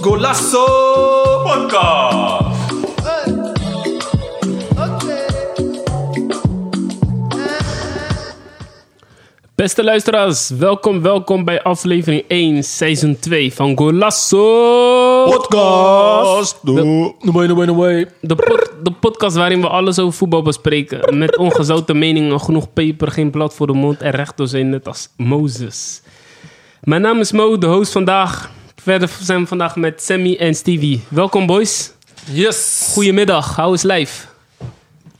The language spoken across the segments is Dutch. Golasso Podcast. Beste luisteraars, welkom, welkom bij aflevering 1, seizoen 2 van Golasso Podcast. De, pod- de podcast waarin we alles over voetbal bespreken. Met ongezouten meningen, genoeg peper, geen blad voor de mond en recht door zijn, net als Mozes. Mijn naam is Mo, de host vandaag. Verder zijn we vandaag met Sammy en Stevie. Welkom boys. Yes. Goedemiddag, how is life?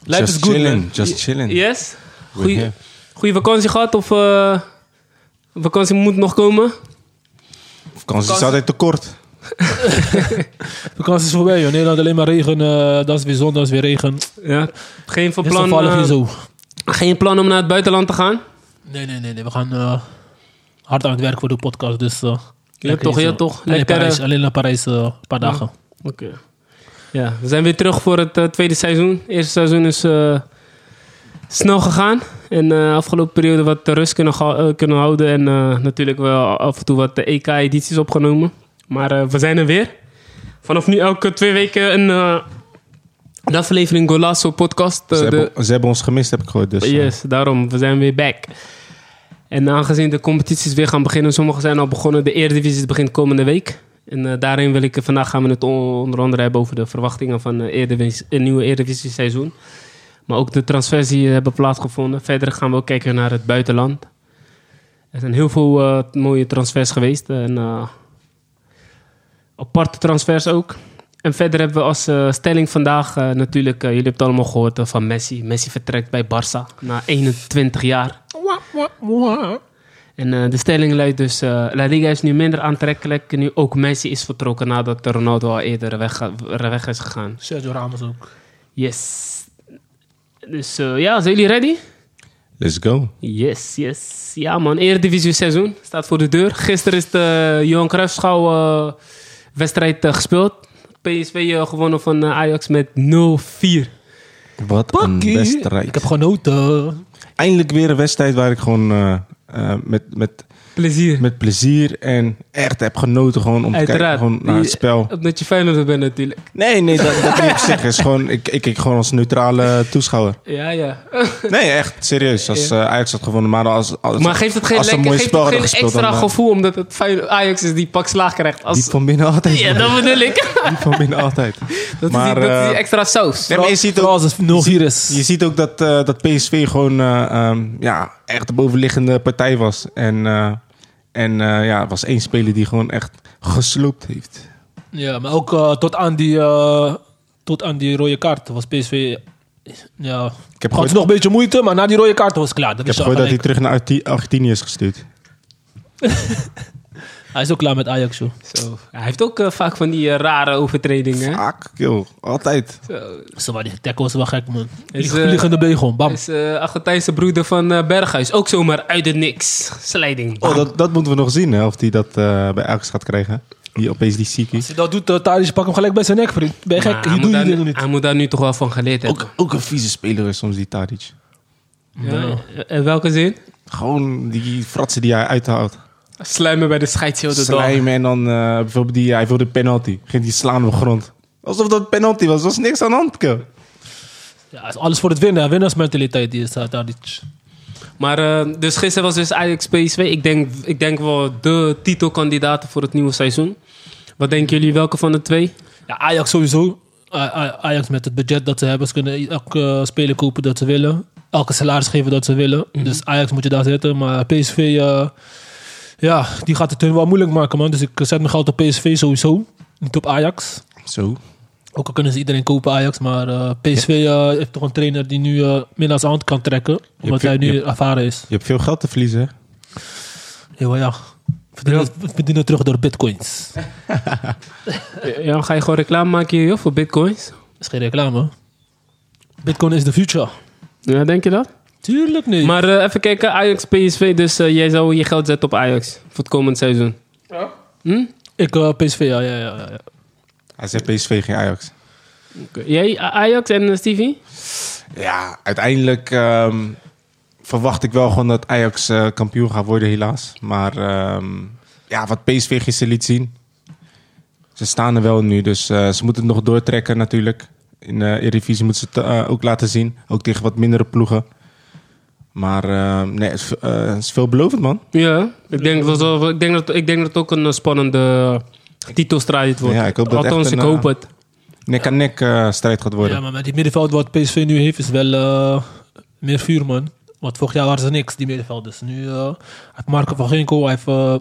Life just is good, chilling, man. just chilling. Yes? We're Goeie, here. goeie vakantie gehad of eh, vakantie moet nog komen? Vakantie is altijd te kort. Vakantie is voorbij, joh. Nederland alleen maar regen. eh, dat is weer zon, dat is weer regen. Ja. Geen van Is plan, toevallig eh, hier zo. geen plan om naar het buitenland te gaan? Nee, nee, nee. nee. We gaan eh, hard aan het werk voor de podcast. Dus, eh, lekker toch, hier ja, zo. toch. Alleen, Lekker, Parijs, eh, alleen naar Parijs eh, een paar dagen. Oké. Ja, we zijn weer terug voor het eh, tweede seizoen. Het eerste seizoen is eh, snel gegaan. En de afgelopen periode wat de rust kunnen, gehou- eh, kunnen houden. En eh, natuurlijk wel af en toe wat de EK-edities opgenomen. Maar eh, we zijn er weer. Vanaf nu elke twee weken een, eh, een aflevering Golasso podcast. eh, Ze, de- hebben, ze hebben ons gemist, heb ik gehoord. Dus, eh, Yes, daarom. We zijn weer back. En aangezien de competities weer gaan beginnen, sommige zijn al begonnen. De Eredivisie begint komende week. En eh, daarin wil ik, eh, vandaag gaan we het on- onder andere hebben over de verwachtingen van eh, Eredivis- een nieuwe Eredivisie seizoen. Maar ook de transfers die eh, hebben plaatsgevonden. Verder gaan we ook kijken naar het buitenland. Er zijn heel veel eh, mooie transfers geweest. En eh, aparte transfers ook. En verder hebben we als eh, stelling vandaag eh, natuurlijk, eh, jullie hebben het allemaal gehoord eh, van Messi. Messi vertrekt bij Barça na 21 jaar. En eh, de stelling luidt dus, eh, La Liga is nu minder aantrekkelijk. Nu ook Messi is vertrokken nadat Ronaldo al eerder weg, eh, weg is gegaan. Sergio Ramos ook. Yes. Dus eh, ja, zijn jullie ready? Let's go. Yes, yes. Ja man, Eredivisie seizoen staat voor de deur. Gisteren is de Johan Cruijffschouw eh, wedstrijd eh, gespeeld. PSV eh, gewonnen van eh, Ajax met 0-4. Wat een wedstrijd. Ik heb genoten. Eindelijk weer een wedstrijd waar ik gewoon eh, eh, met, met, Plezier. met plezier en echt heb genoten gewoon om Uiteraard. te kijken gewoon naar het Je- spel. Omdat je Feyenoord bent natuurlijk. Nee, nee, dat, dat wil ik zeggen. Is gewoon, ik, ik kijk gewoon als neutrale toeschouwer. Ja, ja. Nee. Nee, echt, serieus. Als eh, Ajax had gewonnen, maar als, als, maar geeft het geen, als ze een lekker, mooi geeft spel het geen extra hadden gespeeld, dan, eh, gevoel omdat het Feyenoord- Ajax is die pak slaag krijgt? Als... diep van binnen altijd. Ja, dat bedoel ik. Diep van binnen altijd. Dat, Maar, is, die, dat is die eh, extra saus. nee, maar je ziet ook Vooral als het 0-4 is. Je ziet ook dat, eh, dat PSV gewoon eh, ehm, ja, echt de bovenliggende partij was. En, eh, en eh, ja, er was één speler die gewoon echt gesloopt heeft. Ja, maar ook eh, tot, aan die, eh, tot aan die rode kaart was PSV... Ja, ik heb heb gehoord- nog een beetje moeite, maar na die rode kaart was het klaar. Dat Ik heb is al gehoord dat gelijk. hij terug naar Arti- Argentinië is gestuurd. Hij is ook klaar met Ajax, joh. Zo. Hij heeft ook eh, vaak van die eh, rare overtredingen. hè? Fuck, joh. Ah, Altijd. Zo. Zo, maar die tackle is wel gek, man. Is, Is, eh, Liggende been gewoon, bam. is eh Argentijnse broeder van eh, Berghuis. Ook zomaar uit het niks. Slijding. Oh, dat, dat moeten we nog zien, hè, of hij dat eh, bij Ajax gaat krijgen. Die opeens die ziek Als is. hij dat doet, uh, pak hem gelijk bij zijn nek, vriend. Ben je Maar gek? Hier hij, moet doe je daar, dingen nu- niet. hij moet daar nu toch wel van geleerd hebben. Ook, ook een vieze speler is soms die Tadic. Ja. Eh, In welke zin? Gewoon die fratsen die hij uithaalt. Slijmen bij de scheidsjoden. Slijm en dan eh, bijvoorbeeld die, hij wilde penalty. Ging die slaan op de grond. Alsof dat penalty was. Er was niks aan de hand, joh. Ja, het is alles voor het winnen. hè. Winnaarsmentaliteit die is eh, daar. daar niet. Maar eh, dus gisteren was dus Ajax PSV. Ik denk, ik denk wel de titelkandidaten voor het nieuwe seizoen. Wat denken jullie? Welke van de twee? Ja, Ajax sowieso. A- A- Ajax met het budget dat ze hebben. Ze kunnen elke eh, speler kopen dat ze willen. Elke salaris geven dat ze willen. Dus Ajax moet je daar zetten. Maar PSV, eh, ja, die gaat het hun wel moeilijk maken, man. Dus ik zet mijn geld op PSV sowieso. Niet op Ajax. Zo. Ook al kunnen ze iedereen kopen, Ajax. Maar eh, PSV eh, heeft toch een trainer die nu eh meer aan zijn hand kan trekken. Omdat veel- hij nu je- ervaren is. Je hebt veel geld te verliezen. hè? Ja, maar ja. Verdien het, verdien het terug door bitcoins. Dat Ja, ga je gewoon reclame maken hier joh, voor bitcoins? is geen reclame. Bitcoin is the future. Ja, denk je dat? Tuurlijk niet. Maar eh, even kijken, Ajax PSV. Dus eh, jij zou je geld zetten op Ajax voor het komend seizoen. ik, eh, PSV, ja, ja, ja. ja. Hij zei PSV, geen Ajax. Oké. Jij, A- Ajax en eh, Stevie? Ja, uiteindelijk ehm, verwacht ik wel gewoon dat Ajax eh, kampioen gaat worden, helaas. Maar ehm, ja, wat PSV gisteren liet zien. Ze staan er wel nu, dus eh, ze moeten het nog doortrekken natuurlijk. In eh Eredivisie moeten ze het eh, ook laten zien. Ook tegen wat mindere ploegen. Maar ehm, nee, het is, eh, het is veelbelovend, man. Ja, ik denk dat, wel- ik denk dat, ik denk dat het ook een eh, spannende eh, titelstrijd wordt. Ja, ik hoop dat Althans, echt een, ik hoop eh, het. Nek aan nek eh, strijd gaat worden. Ja, maar met die middenveld wat PSV nu heeft, is wel eh, meer vuur, man. Want vorig jaar waren ze niks, die middenvelders. Nu eh, hij heeft Marco van Ginkel, hij heeft eh,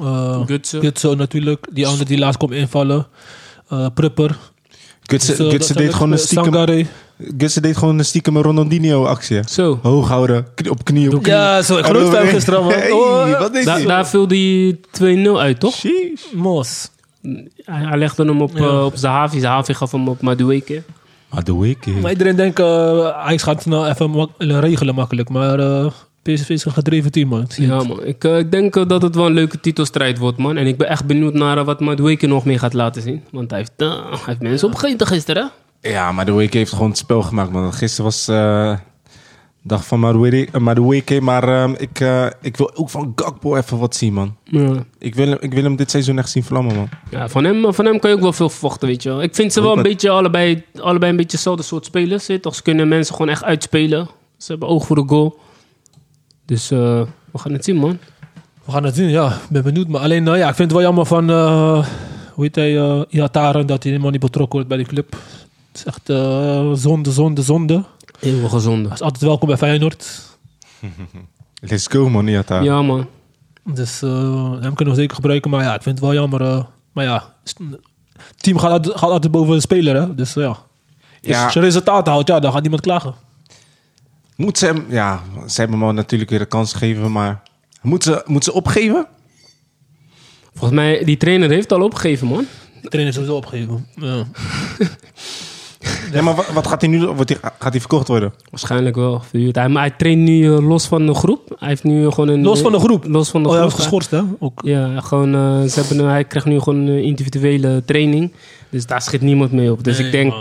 eh, Gutsen. Gutsen natuurlijk. Die andere die laatst komt invallen. Eh, Prupper. Gutsen, Dus, eh, dat Gutsen zijn deed het, gewoon een eh, stiekem, Sangare. Gutsen deed gewoon een stiekem Ronaldinho actie. hè. Zo. Hoog houden, knie- op knieën. Ja, zo. Ik geloofde hem gisteren, man. Hey, Oh, wat deed Da- hij? daar viel die 2-0 uit, toch? Sheesh. Mos. Hij, hij legde hem op, Ja. eh, op Zahavi. Zahavi gaf hem op Madueke. Maar doe ik Maar iedereen denkt, eh Ajax gaat het nou even mak- regelen makkelijk. Maar eh, PSV is een gedreven team, man. Ik zie Ja, man. Ik, eh, ik denk eh, dat het wel een leuke titelstrijd wordt, man. En ik ben echt benieuwd naar eh, wat Madueke nog meer gaat laten zien. Want hij heeft, eh, hij heeft mensen opgegeten gisteren. hè? Ja, maar de Wake heeft gewoon het spel gemaakt, man. Gisteren was eh dag van Madueke, eh, Madueke, maar ehm, ik, eh, ik wil ook van Gakpo even wat zien, man. Ja. Ik wil, hem- ik wil hem dit seizoen echt zien vlammen, man. Ja, van, hem, van hem kan je ook wel veel verwachten, weet je wel. Ik vind ze wel een Hoop beetje allebei, allebei een beetje hetzelfde soort spelers. hè. Toch, ze kunnen mensen gewoon echt uitspelen. Ze hebben oog voor de goal. Dus eh, we gaan het zien, man. We gaan het zien, ja. Ik ben benieuwd. Maar alleen, nou ja, ik vind het wel jammer van... eh, hoe heet hij? eh Iataren, dat hij helemaal niet betrokken wordt bij die club. Het is echt eh, zonde, zonde, zonde. Hij Heel gezonde. is altijd welkom bij Feyenoord. Let's go, man, Iata. Ja, man. Dus eh, hem kunnen we zeker gebruiken. Maar ja, ik vind het wel jammer. eh, maar ja, het team gaat, altijd- gaat altijd boven de speler, hè. Dus eh, ja. Ja. Als je resultaten houdt, ja, dan gaat niemand klagen. Moet ze hem... Ja, ze hebben hem al natuurlijk weer een kans gegeven, maar... Moet ze, moet ze opgeven? Volgens mij, die trainer heeft al opgegeven, man. De trainer is sowieso opgegeven. Ja. Ja, maar wa- wat gaat hij nu... doen? Wordt hij, gaat hij verkocht worden? Waarschijnlijk wel. verhuurd. Hij, maar hij traint nu eh, los van de groep. Hij heeft nu gewoon een... Los van de groep. Los van de Oh, hij groep. was geschorst, hè? Ook. Ja, gewoon, eh, ze hebben, hij krijgt nu gewoon eh, individuele training. Dus daar schiet niemand mee op. Dus ik denk,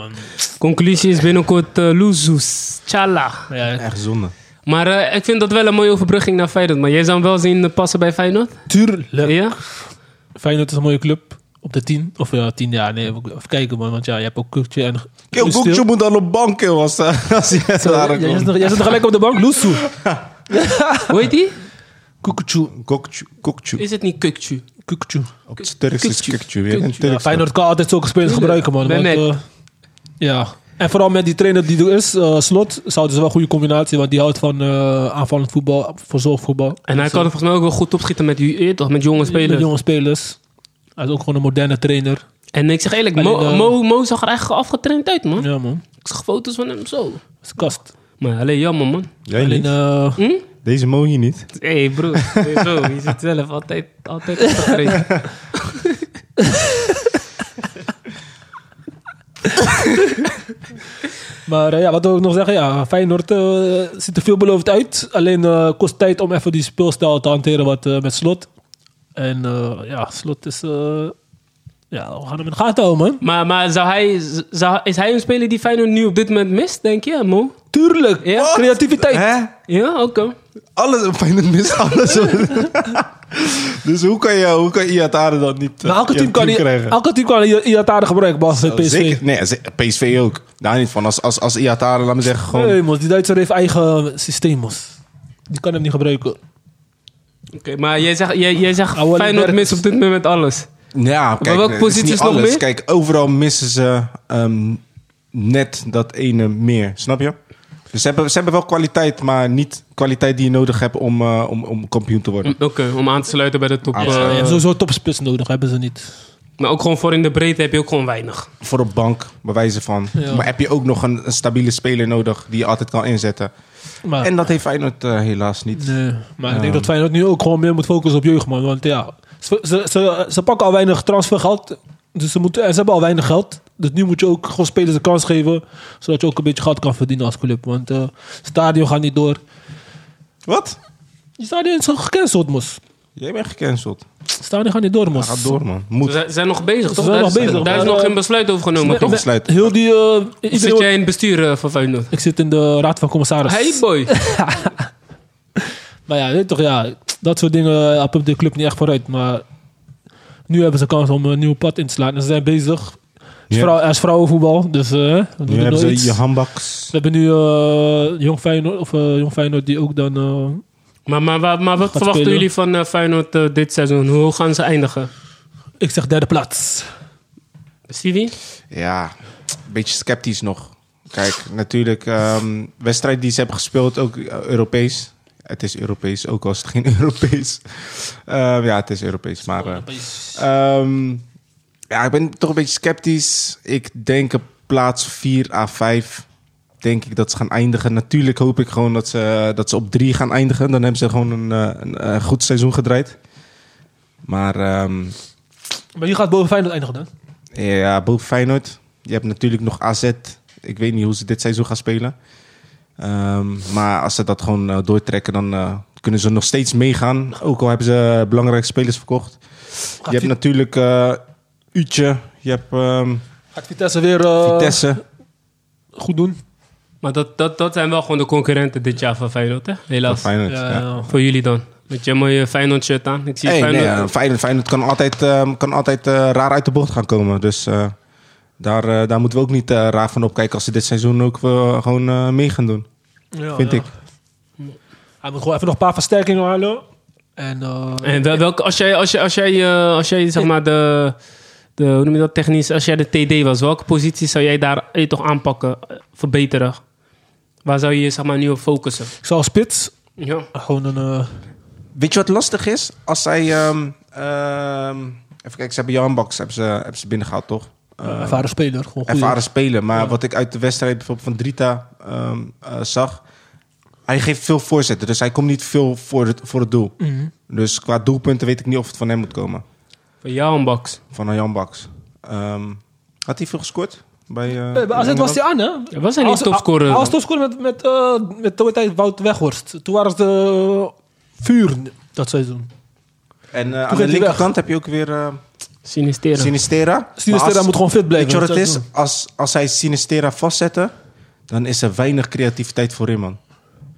conclusie is binnenkort eh Luzus. Tjalla. Ja, ja. Echt zonde. Maar eh, ik vind dat wel een mooie overbrugging naar Feyenoord. Maar jij zou hem wel zien eh, passen bij Feyenoord? Tuurlijk. Ja? Feyenoord is een mooie club. Op de 10. Of ja, 10 jaar. Nee, even even kijken man. Want ja, je hebt ook Kukje en... Yo, Loes Gokje Til. moet dan op bank, joh, als, eh, als hij Zo, daar jij- Jij komt. zit nog- jij zit nog gelijk op de bank. Loesu. Hoe heet die? Kukchu. Gokje, Gokje. Is het niet Kukcu? Kukchu. Op het Turks is Kukcu. Kukcu weer. In Kukcu. Turks. Ja, Feyenoord kan altijd zulke spelers Tuurlijk. gebruiken man. Bij Want, Mac. eh, ja. En vooral met die trainer die er is, eh, Slot, zouden ze wel een goede combinatie. Want die houdt van eh, aanvallend voetbal, verzorgvoetbal. En hij kan er volgens mij ook wel goed opschieten met, die- eh, toch, met jonge Met spelers. jonge spelers. Hij is ook gewoon een moderne trainer. En ik zeg eerlijk, Maar Mo, die, eh, Mo, Mo zag er echt afgetraind uit, man. Ja man. Ik zag foto's van hem zo. Dat is kast. Maar alleen jammer, man. Jij Alleen, niet? eh, Deze mo hier niet. Hé, hey, broer. Zo, je zit zelf altijd, altijd afgetraind. Maar eh, ja, wat wil ik nog zeggen? Ja, Feyenoord eh, ziet er veelbelovend uit. Alleen eh, kost tijd om even die speelstijl te hanteren wat, eh, met Slot. En eh, ja, Slot is... eh, ja, we gaan hem in de gaten houden, man. Maar, maar zou hij, zou, is hij een speler die Feyenoord nu op dit moment mist, denk je, Mo? Tuurlijk! Ja. Wat? Creativiteit! Hè? Ja, oké. Alles, Feyenoord mist alles. dus hoe kan je, hoe kan Iatare dan niet eh, Maar elke je team kan, die- krijgen? elke team kan I- Iatare gebruiken, behalve het PSV. Zeker, nee, ze- PSV ook. Daar niet van. Als, als, als Iatare, laat me zeggen, gewoon... Nee, mos, die Duitser heeft eigen systeem, mos. Die kan hem niet gebruiken. Oké, maar jij zegt, jij, jij zegt Oude Feyenoord Bertens. mist op dit moment alles. Ja, kijk, welke eh, het posities niet nog alles. meer? Kijk, overal missen ze ehm, net dat ene meer. Snap je? Dus ze hebben, ze hebben wel kwaliteit, maar niet kwaliteit die je nodig hebt om, eh, om, om kampioen te worden. Oké, om aan te sluiten bij de top. Hm. Ah, Ja, eh, Ja, je hebt sowieso topspits nodig, hebben ze niet. maar ook gewoon voor in de breedte heb je ook gewoon weinig. Voor op bank, bij wijze van. Ja. Maar heb je ook nog een, een stabiele speler nodig die je altijd kan inzetten. Maar, En dat heeft Feyenoord eh, helaas niet. Nee, maar ik Ja. denk dat Feyenoord nu ook gewoon meer moet focussen op jeugd, man. Want ja, ze, ze, ze, ze pakken al weinig transfergeld. Dus ze, moeten, en ze hebben al weinig geld. Dus nu moet je ook gewoon spelers de kans geven. Zodat je ook een beetje geld kan verdienen als club. Want eh stadion gaat niet door. Wat? Je stadion is al gecanceld, mos. Jij bent gecanceld. Staan die gaan niet door, man. Gaat door, man. Ze Moet. zijn- zijn nog bezig, toch? zijn Daar nog is, bezig. daar is Maar, nog eh, geen besluit over genomen, Nee, toch? nee, Besluit. Heel die... eh, iedereen Zit wordt- jij in het bestuur eh, van Feyenoord? Ik zit in de raad van commissaris. Hey boy! Maar Nou ja, weet je toch, ja, dat soort dingen eh, helpen de club niet echt vooruit. Maar nu hebben ze kans om een nieuw pad in te slaan. En ze zijn bezig. Er is, Ja. vrouw, er is vrouwenvoetbal, dus eh, we Nu doen er hebben ze iets. je We handbaks. hebben nu eh, Jong, Feyenoord, of, eh, Jong Feyenoord die ook dan... eh, Maar, maar, maar, maar wat Gaat verwachten spelen. jullie van eh, Feyenoord eh, dit seizoen? Hoe gaan ze eindigen? ik zeg derde plaats. Stevie? Ja, een beetje sceptisch nog. Kijk, natuurlijk, ehm, wedstrijd die ze hebben gespeeld, ook eh, Europees. Het is Europees, ook al is het geen Europees. Ehm, ja, het is Europees, maar... eh, Ehm, ja, ik ben toch een beetje sceptisch. Ik denk op plaats 4 à 5 denk ik dat ze gaan eindigen. Natuurlijk hoop ik gewoon dat ze, dat ze op 3 gaan eindigen. Dan hebben ze gewoon een, eh, een, eh, goed seizoen gedraaid. Maar ehm, Maar je gaat boven Feyenoord eindigen dan? ja, boven Feyenoord. Je hebt natuurlijk nog AZ. Ik weet niet hoe ze dit seizoen gaan spelen. Ehm, maar als ze dat gewoon eh, doortrekken, dan eh, kunnen ze nog steeds meegaan. Ook al hebben ze belangrijke spelers verkocht. Je hebt Vi- natuurlijk eh Uutje. Je hebt ehm, Gaat Vitesse weer eh, Vitesse. goed doen? Maar dat, dat, dat zijn wel gewoon de concurrenten dit jaar van Feyenoord, hè? Van Helaas. Feyenoord. Ja, ja. ja. Voor jullie dan. Met je mooie Feyenoord shirt aan. Ik zie Hey, nee, Feyenoord. eh, Feyenoord, Feyenoord kan altijd, ehm, kan altijd eh, raar uit de bocht gaan komen. Dus eh, daar, eh, daar moeten we ook niet eh, raar van opkijken als ze dit seizoen ook eh, gewoon eh, mee gaan doen. Ja, Vind Oh, ja. ik. Hij moet gewoon even nog een paar versterkingen halen. En, eh, En wel- welke, als jij, als jij, als jij, eh, als jij zeg maar de, de, hoe noem je dat technisch, als jij de TD was, welke positie zou jij daar eh, toch aanpakken, eh, verbeteren? Waar zou je zeg maar nu op focussen? ik zal spits. Ja. Gewoon een... eh, Weet je wat lastig is? Als zij... ehm, ehm, even kijken, ze hebben Jan Baks hebben ze, hebben ze binnengehaald, toch? Eh, ervaren speler. Gewoon goeie. ervaren spelen. Maar wat ik uit de wedstrijd bijvoorbeeld van Drita ehm, eh, zag... Hij geeft veel voorzetten, dus hij komt niet veel voor het, voor het doel. Mhm. Dus qua doelpunten weet ik niet of het van hem moet komen. Van jou een box. Van Jan Baks. Ehm, had hij veel gescoord? Bij, eh, Eh, bij AZ was hij aan, hè? Ja, was hij niet Als- topscorer Hij dan? was topscorer met, met, eh, met de tijd Wout Weghorst. Toen waren ze de vuur dat seizoen. En eh, aan ging de hij linkerkant heb je ook weer eh, Sinisteren. Sinistera. Sinistera Maar als- moet gewoon fit blijven, Weet je dat wat het zou is? ik Als, als zij Sinistera vastzetten, dan is er weinig creativiteit voor in, man.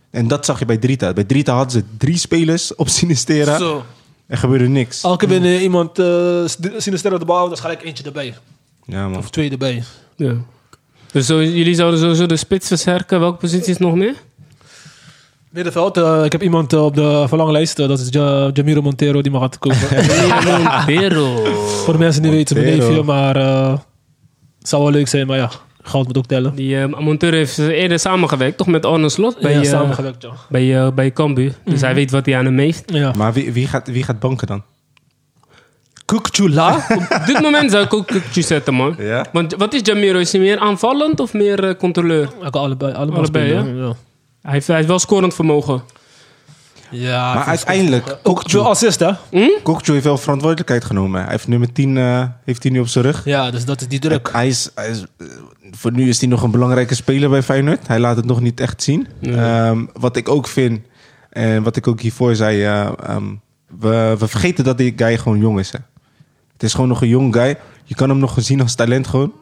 En dat zag je bij Drita. Bij Drita hadden ze drie spelers op Sinistera. Zo. Oh. Er gebeurde niks. Elke keer wanneer iemand eh Sinisterra de bal houdt, dan is gelijk eentje erbij. Ja, man. Of twee erbij. Ja. Dus zo, jullie zouden sowieso de spits versterken. Welke posities nog meer? Middenveld, eh, ik heb iemand eh, op de verlanglijst. eh, dat is Ja- Jamiro Montero, die mag gaat komen. Oh, Bero. Voor de mensen die weten, mijn Montero. neefje. Maar eh, het zou wel leuk zijn, maar ja, goud moet ook tellen. Die eh monteur heeft eerder samengewerkt, toch? Met Arne Slot bij, ja, eh, samengewerkt, Mhm. ja. bij, eh, bij Cambuur. Dus hij weet wat hij aan hem heeft. ja. Maar wie, wie, gaat, wie gaat banken dan? Kukchula. Op dit moment zou ik ook Kukcu zetten, man. Ja? Want wat is Jamiro? Is hij meer aanvallend of meer eh, controleur? Hij kan allebei, allemaal Allebei, spelen, ja. Hij heeft, hij heeft wel scorend vermogen. Ja, Maar ik vind het uiteindelijk, goed. ook de assist, hè? Kokju heeft wel verantwoordelijkheid genomen. Hij heeft nummer 10 eh, heeft hij nu op zijn rug. Ja, dus dat is die druk. Hij is, hij is, eh, voor nu is hij nog een belangrijke speler bij Feyenoord. Hij laat het nog niet echt zien. Ehm, wat ik ook vind, en wat ik ook hiervoor zei, eh, ehm, we, we vergeten dat die guy gewoon jong is. Hè. Het is gewoon nog een jong guy. Je kan hem nog zien als talent gewoon.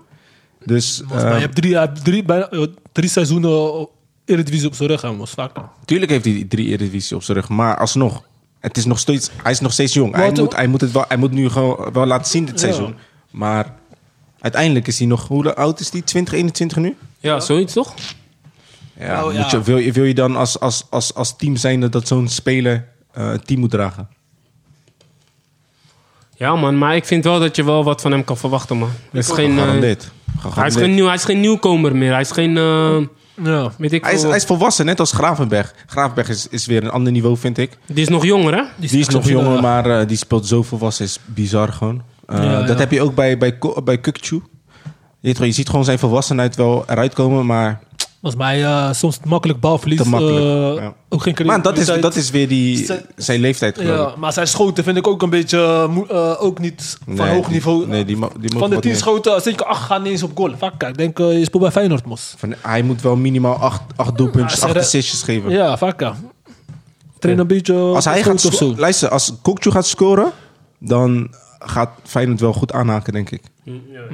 Dus Volgens mij, ehm, je hebt drie, jaar- drie, bijna, eh, drie seizoenen eh, Eredivisie op zijn rug, hè, Mos. Vaak dan. tuurlijk heeft hij die drie Eredivisie op zijn rug, maar alsnog. Het is nog steeds, hij is nog steeds jong. Hij Wat- moet, hij, moet het wel, hij moet nu gewoon wel laten zien dit Ja. seizoen. Maar uiteindelijk is hij nog, hoe oud is hij? 20, 21 nu? Ja, zoiets toch? Ja, Oh, ja. Moet je, wil, je, wil je dan als, als, als, als team zijnde dat zo'n speler eh, het team moet dragen? Ja, man. Maar ik vind wel dat je wel wat van hem kan verwachten, man. Het is geen, eh, Gegarandeerd. hij, is Gegarandeerd. geen nieuw, hij is geen nieuwkomer meer. Hij is geen... eh, Ja. weet ik Hij is, veel- hij is volwassen, net als Gravenberg. Gravenberg is, is weer een ander niveau, vind ik. Die is nog jonger, hè? Die is nog exceptioneel, jonger, ja. maar eh, die speelt zo volwassen. Is bizar gewoon. Eh, Ja, dat ja. heb je ook bij, bij, Ko- bij Kukchu. Je, weet wel, je ziet gewoon zijn volwassenheid wel eruit komen, maar... Volgens mij eh, soms makkelijk balverlies. Te makkelijk, eh, ja. Ook geen Maar dat is, creativiteit. dat is weer die, Zijn- zijn leeftijd, geloof ik. Ja, maar zijn schoten vind ik ook een beetje eh, moe- eh, ook niet van Nee, hoog die- niveau. nee, die mo- die mogen van de wat tien meer. schoten, zeker acht gaan niet eens op goal. Vaak, kijk, ik denk eh, je speelt bij Feyenoord, Mos. Van, hij moet wel minimaal acht, acht doelpunten, Ja, ze- acht assists geven. Ja, vaak. ja. Train een beetje eh, Als hij schoten gaat of zo. scoren, luister, als Kokju gaat scoren, dan gaat Feyenoord wel goed aanhaken, denk ik.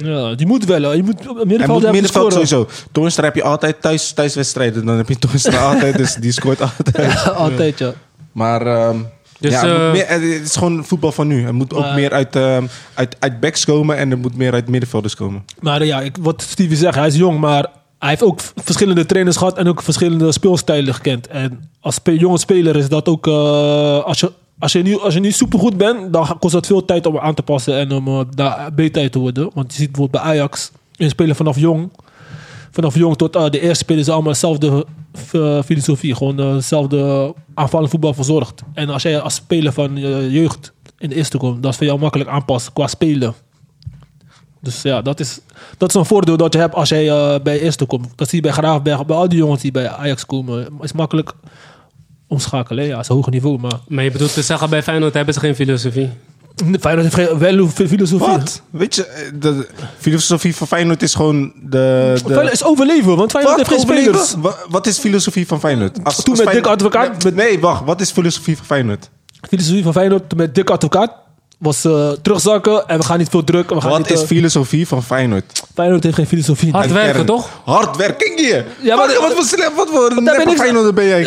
Ja, die moet wel. hè. Je moet op middenveld, En moet hebben middenveld scoren. sowieso. Toornstra heb je altijd thuis, thuiswedstrijden. Dan heb je Toornstra altijd, dus die scoort altijd. Altijd, ja. Maar ehm, Dus, ja, het, eh, moet meer- eh, het is gewoon voetbal van nu. Het moet ook Maar- meer uit, ehm, uit, uit backs komen en het moet meer uit middenvelders komen. Maar eh, ja, ik, wat Stevie zegt, hij is jong, maar hij heeft ook v- verschillende trainers gehad en ook verschillende speelstijlen gekend. En als spe- jonge speler is dat ook, eh, als, je, als, je niet, als je niet supergoed bent, dan ga- kost dat veel tijd om aan te passen en om eh, daar beter uit te worden. Want je ziet bijvoorbeeld bij Ajax, in spelen vanaf jong, vanaf jong tot eh, de eerste spelen ze allemaal dezelfde eh, filosofie. Gewoon eh, dezelfde aanvallend voetbal verzorgd. En als jij als speler van eh, jeugd in de eerste komt, dat is voor jou makkelijk aanpassen qua spelen. Dus ja, dat is, dat is een voordeel dat je hebt als jij eh, bij eerste komt. Dat zie je bij Graafberg, bij al die jongens die bij Ajax komen. Is makkelijk omschakelen. Ja, is een hoger niveau, maar... Maar je bedoelt te zeggen, bij Feyenoord hebben ze geen filosofie. Feyenoord heeft geen- wel een filosofie. Wat? Weet je, eh, de filosofie van Feyenoord is gewoon de... de Feyenoord is overleven, want Feyenoord Wat? heeft geen Overleven? spelers. Wa- Wat is filosofie van Feyenoord? Als, Toen met Feyenoord- Dick Advocaat, Nee, nee, wacht. Wat is filosofie van Feyenoord? filosofie van Feyenoord met Dick Advocaat was eh, terugzakken en we gaan niet veel druk. We gaan Wat niet, is eh, filosofie van Feyenoord? Feyenoord heeft geen filosofie. Hard Aan werken, kern. toch? Hard werken, kijk hier. Ja, maar- wat, wat, voor slim- wat voor ben neppe ik- Feyenoorder ben jij?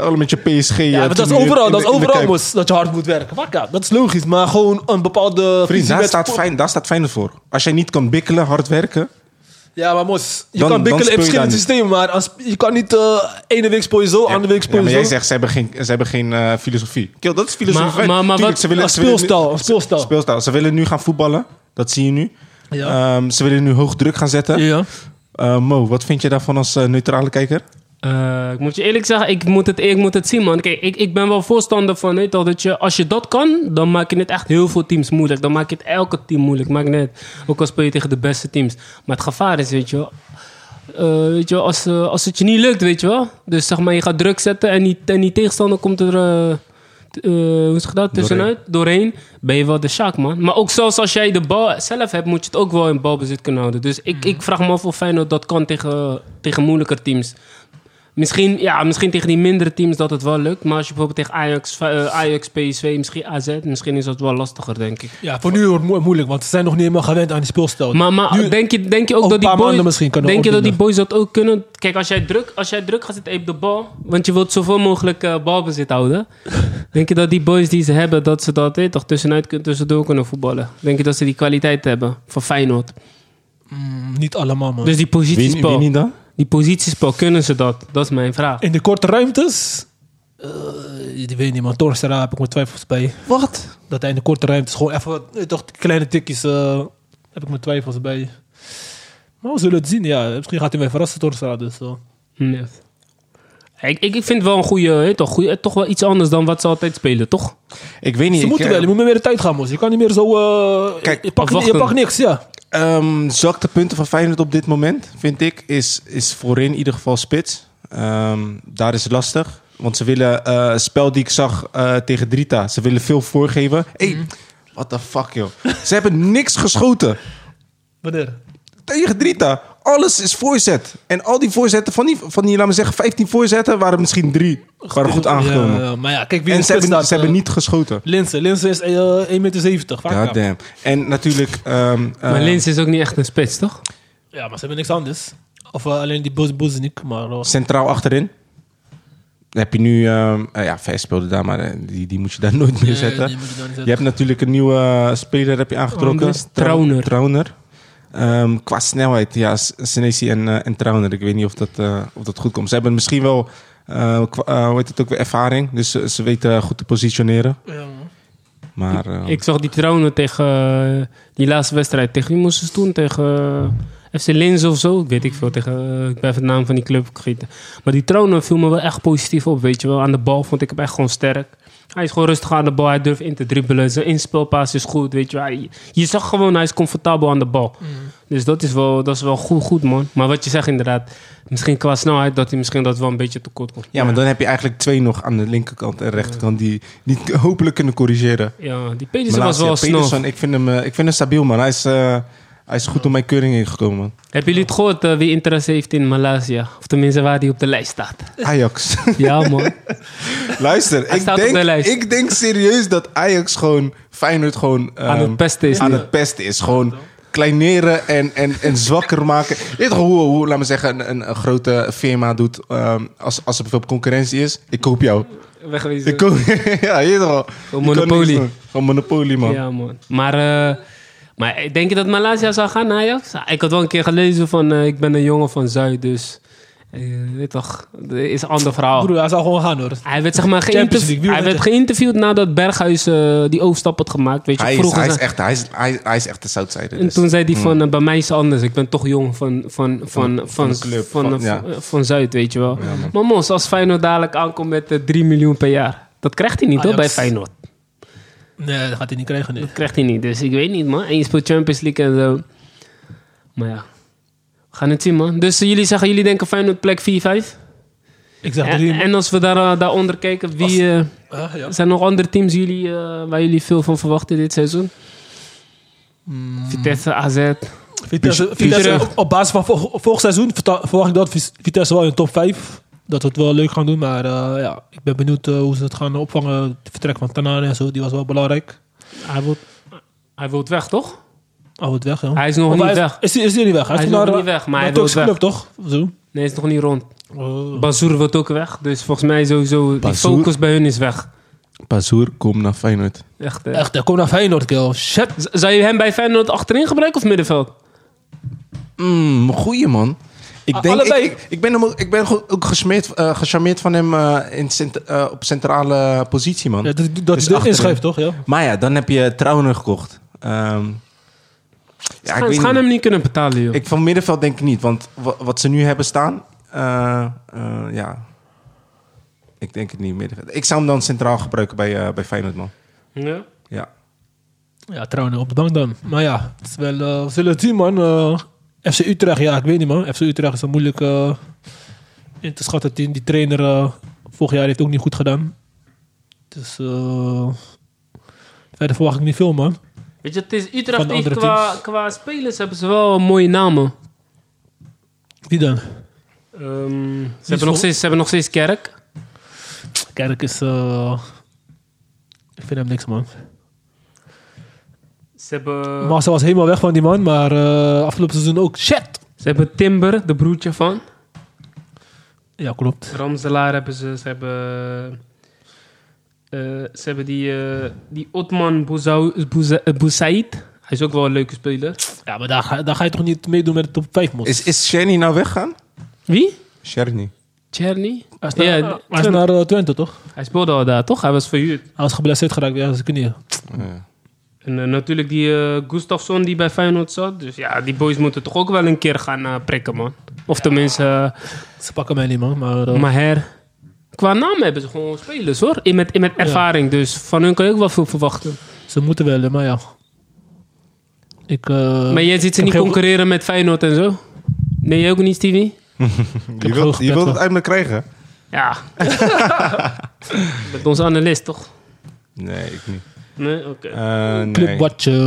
Allemaal met je PSG. ja, maar dat is overal, dat is overal man. moest, dat je hard moet werken. Fuck ja, dat is logisch, maar gewoon een bepaalde... Vriend, visie daar met staat, sport- Feyenoord, daar staat Feyenoord voor. Als jij niet kan bikkelen, hard werken... Ja, maar Mos, je Dan- kan dan bikkelen in speel je daar verschillende niet. systemen, maar als, je kan niet eh ene week speel je zo, andere week speel Ja, je maar zo. jij zegt, ze hebben geen, ze hebben geen eh, filosofie. Kill, dat is filosofie. Maar- Fijn, maar- maar tuurlijk, wat- ze willen- een ze willen nu- speelstijl, een speelstijl. speelstijl. Ze willen nu gaan voetballen. Dat zie je nu. Ja. Ehm, ze willen nu hoog druk gaan zetten. ja. Eh, Mo, wat vind je daarvan als eh, neutrale kijker? Eh, ik moet je eerlijk zeggen, ik moet het, ik moet het zien, man. Kijk, ik, ik ben wel voorstander van, weet je wel, dat je, als je dat kan, dan maak je het echt heel veel teams moeilijk. Dan maak je het elke team moeilijk. Maakt niet uit. Ook al speel je tegen de beste teams. Maar het gevaar is, weet je wel, eh, weet je wel, als, eh, als het je niet lukt, weet je wel. Dus zeg maar, je gaat druk zetten en die, en die tegenstander komt er, eh, t- eh, hoe zeg je dat, tussenuit, doorheen. Ben je wel de Sjaak, man. Maar ook zelfs als jij de bal zelf hebt, moet je het ook wel in balbezit kunnen houden. Dus ik, ik vraag me af of Feyenoord dat kan tegen, tegen moeilijker teams. Misschien, ja, misschien tegen die mindere teams dat het wel lukt. Maar als je bijvoorbeeld tegen Ajax, eh, Ajax PSV, misschien AZ, misschien is dat wel lastiger, denk ik. ja, voor nu wordt het mo- moeilijk, want ze zijn nog niet helemaal gewend aan die speelstijl. Maar, maar Nu- denk, je, denk je ook Over een dat die paar maanden boys, misschien kunnen we denk je dat die opdoen. boys dat ook kunnen? Kijk, als jij druk, als jij druk gaat zitten op de bal, want je wilt zoveel mogelijk eh, balbezit houden. denk je dat die boys die ze hebben, dat ze dat eh, toch tussenuit kun- tussendoor kunnen voetballen? Denk je dat ze die kwaliteit hebben van Feyenoord? Mm, niet allemaal, man. Dus die Wie, wie positiespel, niet dan? die positiespel, kunnen ze dat? Dat is mijn vraag. in de korte ruimtes... eh, ik weet niet, man. Torstra heb ik mijn twijfels bij. Wat? Dat hij in de korte ruimtes gewoon even... eh, toch kleine tikjes eh, heb ik mijn twijfels bij. Maar we zullen het zien, ja. Misschien gaat hij mij verrassen, Torstra, dus... eh. Nee. Ik, ik ik vind wel een goede, eh, toch, goeie- eh, toch wel iets anders dan wat ze altijd spelen, toch? Ik weet niet. Ze ik, moeten eh, wel, je moet meer de tijd gaan, Mos. Je kan niet meer zo... eh, Kijk, je, pakt, je afwachten. pakt niks, ja. Ehm zwakte punten van Feyenoord op dit moment, vind ik, is, is voorin in ieder geval spits. Ehm, daar is het lastig. Want ze willen, eh, het spel die ik zag eh, tegen Drita, ze willen veel voorgeven. Hé, Mhm. hey, what the fuck joh. ze hebben niks geschoten Wanneer? tegen Drita. Alles is voorzet. En al die voorzetten van die, van die laten we zeggen, 15 voorzetten waren misschien drie. Waren goed aangekomen. Ja, ja, maar ja, kijk wie in de En ze spits hebben, staat. ze hebben niet geschoten. Linse. Linse is eh, 1,70 meter. Vaak God damn. En natuurlijk... ehm, maar ehm, Lins is ook niet echt een spits, toch? Ja, maar ze hebben niks anders. Of eh, alleen die Boz Boznik, maar... eh, centraal achterin. Dan heb je nu, ehm, eh, ja, Vijs speelde daar, maar eh, die, die moet je daar nooit meer eh, zetten. die moet je dan niet je hebt natuurlijk een nieuwe eh, speler heb je aangetrokken. Anders Oh, Trauner. Trauner. Ehm, qua snelheid, ja, S- Senesi en, eh, en Trauner. Ik weet niet of dat, eh, of dat goed komt. Ze hebben misschien wel, eh, qua- eh, hoe heet het ook weer, ervaring. Dus ze, ze weten goed te positioneren. zetten. Ja, man. Maar eh, Ik zag die trouwen tegen eh, die laatste wedstrijd. Tegen wie moesten ze toen? Tegen eh, FC Linz of zo? Ik weet ik veel. Tegen, eh, ik ben even de naam van die club vergeten. Maar die trouwen viel me wel echt positief op, weet je wel. Aan de bal vond ik hem echt gewoon sterk. Hij is gewoon rustig aan de bal. Hij durft in te dribbelen. Zijn inspelpaas is goed, weet je wel. Hij- je zag gewoon, hij is comfortabel aan de bal. Dus dat is wel, dat is wel goed, goed, man. Maar wat je zegt inderdaad. Misschien qua snelheid dat hij misschien dat wel een beetje tekort komt. ja, maar dan heb je eigenlijk twee nog aan de linkerkant en rechterkant die, die het hopelijk kunnen corrigeren. Ja, die Pedersen was Malacia, wel snel. Pedersen, ik vind, hem, eh, ik vind hem stabiel, man. Hij is, eh, Hij is goed door mijn keuring ingekomen, man. Hebben jullie het gehoord eh, wie interesse heeft in Malaysia? Of tenminste waar die op de lijst staat. Ajax. Ja, man. Luister, Hij ik staat op de denk, lijst. ik denk serieus dat Ajax gewoon Feyenoord gewoon... Aan ehm, het pesten is aan nu. het pesten is. Gewoon kleineren en, en, en zwakker maken. Je Weet toch hoe, hoe, laat me zeggen, een, een, een grote firma doet ehm, als, als er bijvoorbeeld concurrentie is? Ik koop jou. Wegwezen. Ik koop, ja, je weet toch wel. Je kan niks monopolie. doen. Gewoon monopolie, man. Ja, man. Maar, eh, maar denk je dat Malaysia zou gaan naar Ajax? Ah, Ik had wel een keer gelezen van, eh, ik ben een jongen van Zuid, dus... eh, weet toch, dat is een ander verhaal. Broer, hij zou gewoon gaan hoor. hij werd, zeg maar, Champions geïnterv- League, wie hij weet werd geïnterviewd nadat Berghuis eh, die overstap had gemaakt. Weet je, Hij, is, vroeger hij, is zei- echt, hij, is, hij, hij is echt de Zuidzijde. En Dus. toen zei hij van, eh, bij mij is het anders. Ik ben toch jong van, van, van, van, van de club, van, van- eh, ja. van- eh, van Zuid, weet je wel. maar Mos, als Feyenoord dadelijk aankomt met eh, 3 miljoen per jaar. Dat krijgt hij niet hoor, bij Ajax. Feyenoord. Nee, dat gaat hij niet krijgen. Nee. Dat krijgt hij niet, dus ik weet niet man. En je speelt Champions League en zo. Maar ja, we gaan het zien man. Dus eh, jullie zeggen, jullie denken Feyenoord plek 4-5? Ik zeg En, drie. en als we daar, eh, daaronder kijken, wie, eh, Ah, ja. zijn er nog andere teams jullie, eh, waar jullie veel van verwachten dit seizoen? Vitesse, AZ. Vitesse, Vitesse- Vitesse, op- op basis van vor- vorig seizoen verta- verwacht ik dat Vis- Vitesse wel in de top 5. Dat we het wel leuk gaan doen, maar eh, ja, ik ben benieuwd eh, hoe ze het gaan opvangen. Het vertrek van Tanane en zo, die was wel belangrijk. Hij wil, hij wil weg toch? Al wordt weg, ja. Hij is nog Of niet hij weg. Is, is hij niet weg? Hij ging is nog naar, niet weg, Eh, maar hij naar Turkse wil club, toch? Zo. Nee, is nog niet rond. Oh. Bazoer wordt ook weg. Dus volgens mij sowieso, Bazoer? die focus bij hun is weg. Pazoer, kom naar Feyenoord. Echt, hè. Echt, eh, kom naar Feyenoord, kill. Shit. Z- Zou je hem bij Feyenoord achterin gebruiken of middenveld? Mm, goeie man. A- Ik, denk, allebei. ik, ik, ik ben, hem ook, ik ben go- ook gesmeerd, eh, gecharmeerd van hem eh, in cent- eh, op centrale positie, man. Ja, dat dat Dus hij erin achterin. schrijft, toch? Ja. Maar ja, dan heb je Trouwner gekocht. Ehm, ja, ze ik gaan, ze weet gaan niet. hem niet kunnen betalen, joh. Ik, van middenveld denk ik niet, want wa- wat ze nu hebben staan, eh, eh, ja. Ik denk het niet middenveld. Ik zou hem dan centraal gebruiken bij, eh, bij Feyenoord, man. Ja. Ja. ja, trouwens, op de bank dan. Maar ja, het is wel, eh, we zullen het zien, man. Eh, FC Utrecht, ja, ik weet niet, man. FC Utrecht is een moeilijk eh, in te schatten team. Die trainer eh, vorig jaar heeft ook niet goed gedaan. Dus eh, verder verwacht ik niet veel, man. Weet je, het is Van Utrecht de heeft andere qua, teams. qua spelers hebben ze wel mooie namen. Wie dan? Ehm, ze, vol- hebben nog steeds, ze hebben nog steeds Kerk. Kerk is... eh, ik vind hem niks, man. Ze hebben, Marcel was helemaal weg van die man, maar eh, afgelopen seizoen ook. Shit! ze hebben Timber, de broertje van. Ja, klopt. Ramselaar hebben ze. Ze hebben, eh, ze hebben die, eh, die Otman Bouzou- Bouza- eh, Boussaid. Hij is ook wel een leuke speler. Ja, maar daar ga, daar ga je toch niet meedoen met de top 5, man? Is, is Sherny nou weggaan? Wie? Sherny. Cherny? Hij is naar, Ja, ja, hij is Twente. naar eh, Twente, toch? Hij speelde al daar, toch? Hij was verhuurd. Hij was geblesseerd geraakt weer aan zijn knieën. Ja. En eh, natuurlijk die eh, Gustafsson die bij Feyenoord zat. Dus ja, die boys moeten toch ook wel een keer gaan eh, prikken, man. Of tenminste, eh, Ze pakken mij niet, man. Maar, eh, Maher. Qua naam hebben ze gewoon spelers, hoor. In met, in met ervaring, dus van hun kan je ook wel veel verwachten. Ze moeten wel, hè, maar ja. Ik, eh, maar jij ziet ze ik heb niet geen- concurreren met Feyenoord en zo? Nee, jij ook niet, Stevie? Je gewoon wilt, je wilt het gepet, uit me krijgen? Ja. met onze analist, toch? Nee, ik niet. Nee, oké. Eh, nee. Clubwatcher.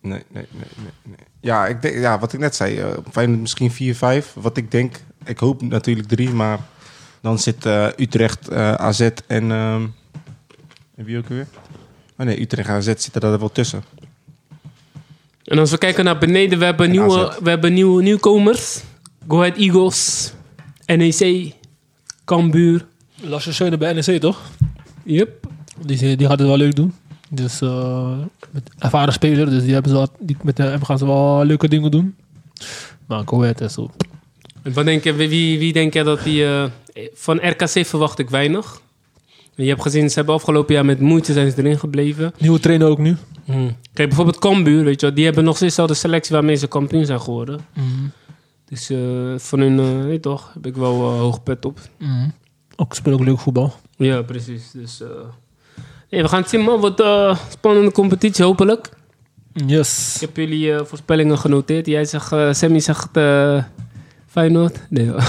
Nee, nee, nee, nee, nee. Ja, ik denk, ja, wat ik net zei, eh, Feyenoord misschien 4, 5. Wat ik denk, ik hoop natuurlijk 3, maar dan zit eh, Utrecht, eh, AZ en, ehm, en wie ook weer? Oh nee, Utrecht en AZ zitten daar wel tussen. En als we kijken naar beneden, we hebben, En nieuwe, AZ. we hebben nieuwe nieuwkomers. Go Ahead Eagles, NEC, Cambuur. Lasse Schöne bij NEC, toch? Yep. Die, die gaat het wel leuk doen. Dus eh, met ervaren speler, dus die hebben ze wel, die, met hem gaan ze wel leuke dingen doen. Maar Go Ahead en zo. En Wat denk je, wie- wie, wie denk jij dat die... eh, van RKC verwacht ik weinig. Je hebt gezien, ze hebben afgelopen jaar met moeite zijn ze erin gebleven. Nieuwe trainer ook nu. Kijk, bijvoorbeeld Cambuur, weet je wel, Die hebben nog steeds al de selectie waarmee ze kampioen zijn geworden. Dus eh, van hun, eh, weet toch, heb ik wel eh, hoog pet op. Mhm. Ook spelen ook leuk voetbal. Ja, precies. Dus, eh, nee, we gaan het zien, man. Wat eh, spannende competitie, hopelijk. Yes. Ik heb jullie eh, voorspellingen genoteerd. Jij zegt, eh, Sammy zegt eh, Feyenoord. Nee. hoor.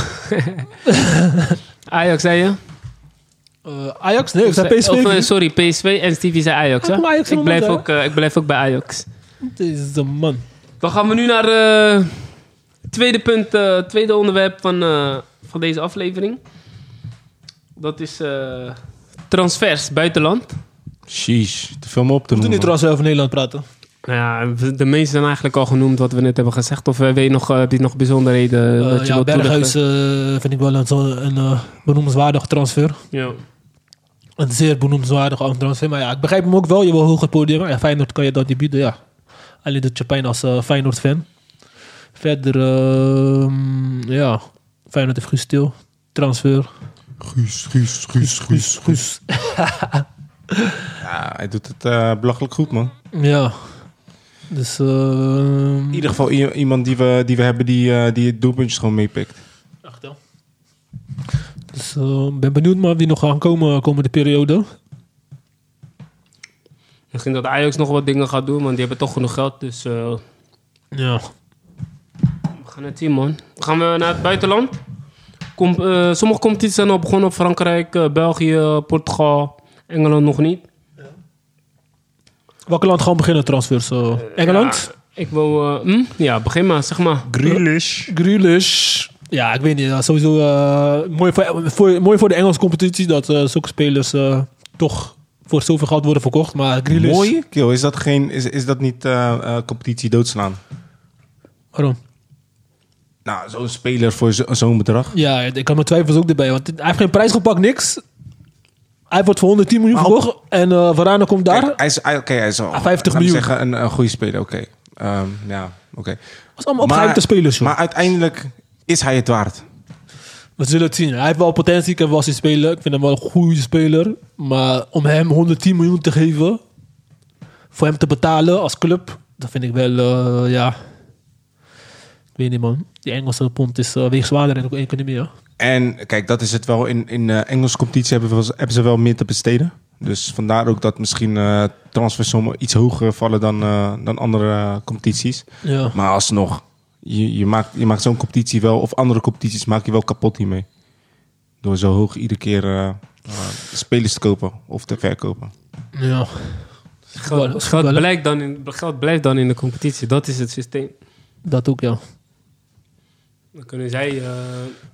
Ajax, zei je? Eh, Ajax? Nee, ik zei PSV. Of, eh, sorry, PSV en Stevie zei Ajax. Hij Hè? kon Ajax ik, helemaal blijf niet, ook, eh, ik blijf ook bij Ajax. Dit is de man. Dan gaan we nu naar eh tweede punt, eh, tweede onderwerp van, eh, van deze aflevering. Dat is eh, transfers buitenland. Sheesh, te veel om op te We moeten nu noemen. trouwens over Nederland praten. Nou ja, de meeste zijn eigenlijk al genoemd wat we net hebben gezegd. Of eh, weet je nog, eh, heb je nog bijzonderheden? Eh, dat je ja, wilt Berghuis toelichten? eh, vind ik wel een, zo- een eh, benoemenswaardig transfer. Ja. Een zeer benoemenswaardig transfer. Maar ja, ik begrijp hem ook wel. Je wil hoger podium. Ja, Feyenoord kan je dat niet bieden, ja. Alleen doet je pijn als eh, Feyenoord-fan. Verder, ehm, ja. Feyenoord heeft Guus Til. Transfer. Guus, Guus, Guus, Guus. Guus. Ja, hij doet het eh, belachelijk goed, man. Ja. Dus, ehm In ieder geval i- iemand die we, die we hebben die, eh, die het doelpuntjes gewoon meepikt. Dus eh, ik ben benieuwd maar wie nog gaan komen eh, komende periode. Misschien dat Ajax nog wat dingen gaat doen, want die hebben toch genoeg geld. Dus eh, Ja. we gaan het zien, man. Gaan we naar het buitenland? Kom, eh, sommige competities zijn al begonnen. Frankrijk, eh, België, Portugal, Engeland nog niet. Welk land gaan beginnen transfers? eh? Engeland? Ja, ik wil... eh, hm? Ja, begin maar, zeg maar. Grealish. Grealish. Ja, ik weet niet. ja, Sowieso eh, mooi, voor, voor- mooi voor de Engelse competitie dat eh, zulke spelers eh, toch voor zoveel geld worden verkocht. Maar Grealish... Mooi. Kill, is dat, geen, is, is dat niet eh, eh, competitie doodslaan? Waarom? Nou, zo'n speler voor zo- zo'n bedrag. Ja, ik had mijn twijfels ook erbij. Want hij heeft geen prijs gepakt, niks. Hij wordt voor 110 miljoen Maar op- verkocht. En eh Varane komt daar. Kijk, hij is, hij, oké, hij is al, Ah, 50 laat me miljoen. zeggen, een, een goede speler, oké. Ehm, ja, oké. Dat is allemaal opgehypte spelers, joh. Maar uiteindelijk is hij het waard. We zullen het zien. Hij heeft wel potentie. Ik heb wel zien spelen. Ik vind hem wel een goede speler. Maar om hem 110 miljoen te geven. Voor hem te betalen als club. Dat vind ik wel, eh, ja. Ik weet niet, man. Die Engelse pond is eh, weeg zwaarder in de economie, hè? En kijk, dat is het wel. In, in eh Engelse competitie hebben, we, hebben ze wel meer te besteden. Dus vandaar ook dat misschien eh transfersommen iets hoger vallen dan, eh, dan andere eh, competities. Ja. Maar alsnog, je, je maakt, je maakt zo'n competitie wel, of andere competities maak je wel kapot hiermee. Door zo hoog iedere keer eh, eh, spelers te kopen of te verkopen. Ja. Geld, geld blijft dan in, geld blijft dan in de competitie. Dat is het systeem. Dat ook, ja. Dan kunnen zij, eh,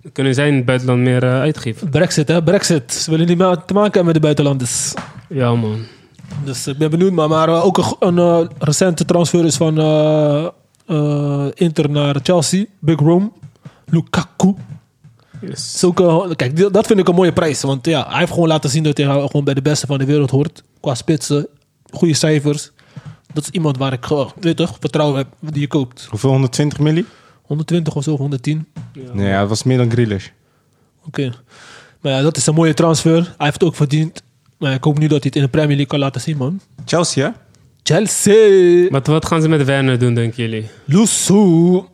dan kunnen zij in het buitenland meer eh, uitgeven. Brexit, hè? Brexit. Ze willen niet meer te maken hebben met de buitenlanders. Ja, man. Dus ik ben benieuwd, maar, maar eh, ook een, go- een eh, recente transfer is van eh, eh, Inter naar Chelsea, Big Rome, Lukaku. Zulke, kijk, die- dat vind ik een mooie prijs. Want ja, hij heeft gewoon laten zien dat hij gewoon bij de beste van de wereld hoort. Qua spitsen, goede cijfers. Dat is iemand waar ik gewoon, weet toch, vertrouwen heb die je koopt. Hoeveel? 120 miljoen? 120 of zo, 110. Nee, ja, dat was meer dan Grealish. Oké. Maar ja, dat is een mooie transfer. Hij heeft het ook verdiend. Maar ik hoop nu dat hij het in de Premier League kan laten zien, man. Chelsea, hè? Chelsea! Maar wat gaan ze met Werner doen, denken jullie? Lusso!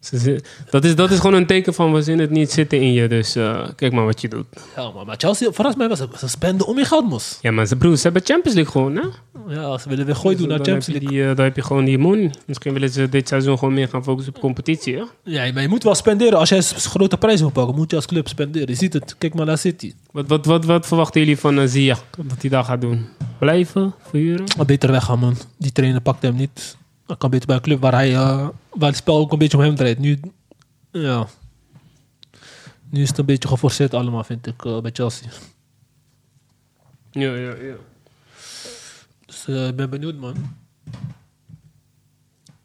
Ze- ze- Dat is, dat is gewoon een teken van we zien het niet zitten in je. Dus eh, kijk maar wat je doet. Ja, maar, maar Chelsea verrast mij wel. Ze, ze spenden om je geld, mos. Ja, maar ze, broer, ze hebben Champions League gewoon, hè? Dus Ja, ze willen weer gooien doen naar Dan Champions heb je League. die, eh, dan heb je gewoon die money. Misschien willen ze dit seizoen gewoon meer gaan focussen op competitie, hè? Ja, maar je moet wel spenderen. Als jij een grote prijs wil pakken, moet je als club spenderen. Je ziet het. Kijk maar naar City. Wat, wat, wat, wat verwachten jullie van eh, Ziyech? Wat hij daar gaat doen? Blijven? Verhuren? Maar beter weggaan, man. Die trainer pakt hem niet. Hij kan beter bij een club waar, hij, eh, waar het spel ook een beetje om hem draait. Nu, ja. nu is het een beetje geforceerd allemaal, vind ik, eh, bij Chelsea. Ja, ja, ja. Dus eh, ik ben benieuwd, man.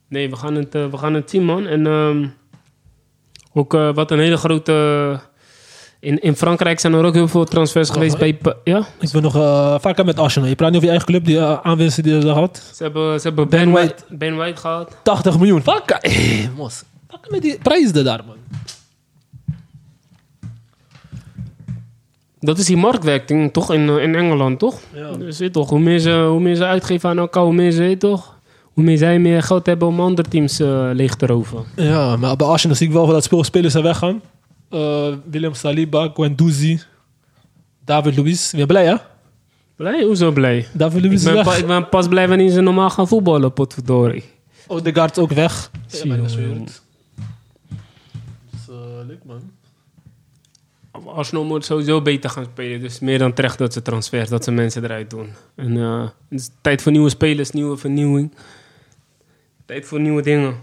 Nee, we gaan het, eh, we gaan het zien, man. En ehm, ook eh, wat een hele grote... eh, In, in Frankrijk zijn er ook heel veel transfers geweest bij... Pa- Ja? Ik ben nog eh, vaak aan met Arsenal. Je praat niet over je eigen club, die eh, aanwinsten die ze had. Ze hebben, ze hebben Ben ben, White. White. ben White gehad. 80 miljoen. Vaak, eh, mos. Vaak met die prijzen daar, man. Dat is die marktwerking, toch? In, eh, in Engeland, toch? Ja. Dus weet toch, hoe meer, ze, hoe meer ze uitgeven aan elkaar, hoe meer ze, weet toch? Hoe meer zij meer geld hebben om andere teams eh, leeg te roven. Ja, maar bij Arsenal zie ik wel dat speel- spelers zijn weggaan. Eh, Willem Saliba, Guendouzi, David Luiz. Weer blij, hè? Blij? Hoezo blij? David Luiz Ik is ben, pa- weg. ik ben pas blij wanneer ze normaal gaan voetballen, potverdorie. Odegaard Oh, ook weg. Zie je, jongen. Dus, is eh, leuk, man. Arsenal moet sowieso beter gaan spelen. Dus meer dan terecht dat ze transfers, dat ze dus mensen eruit doen. En eh, het is tijd voor nieuwe spelers, nieuwe vernieuwing. Tijd voor nieuwe dingen.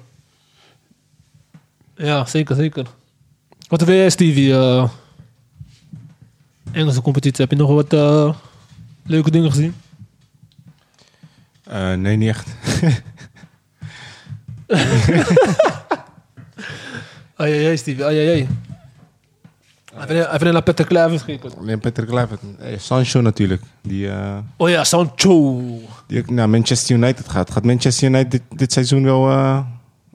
Ja, zeker, zeker. Wat wil jij, Stevie? eh, Engelse competitie. Heb je nog wat eh, leuke dingen gezien? Eh, nee, niet echt. Ai, ai, ai, Stevie. Ai, ai, ai. Even een- Even naar Peter Kluivert gekeken. Nee, Patrick Kluivert. Eh, Sancho natuurlijk. Die, eh, Oh ja, Sancho. die ook naar Manchester United gaat. Gaat Manchester United dit, dit seizoen wel eh,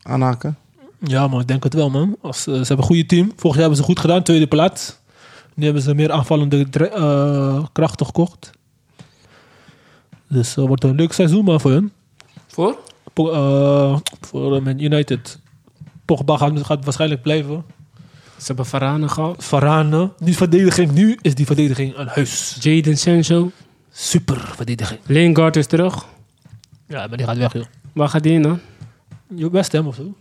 aanhaken? Ja, man, ik denk het wel, man. Als, eh, ze hebben een goede team. Vorig jaar hebben ze goed gedaan, tweede plaats. Nu hebben ze meer aanvallende dre- eh, krachten gekocht. Dus het wordt een leuk seizoen, man, voor hun. Voor? Po- eh, voor eh, Man United. Pogba gaat, gaat waarschijnlijk blijven. Ze hebben Varane gehad. Varane. Die verdediging, nu is die verdediging een huis. Jaden Sancho. Super verdediging. Lingard is terug. Ja, maar die gaat weg, joh. Waar gaat die in dan? Je best hem of zo.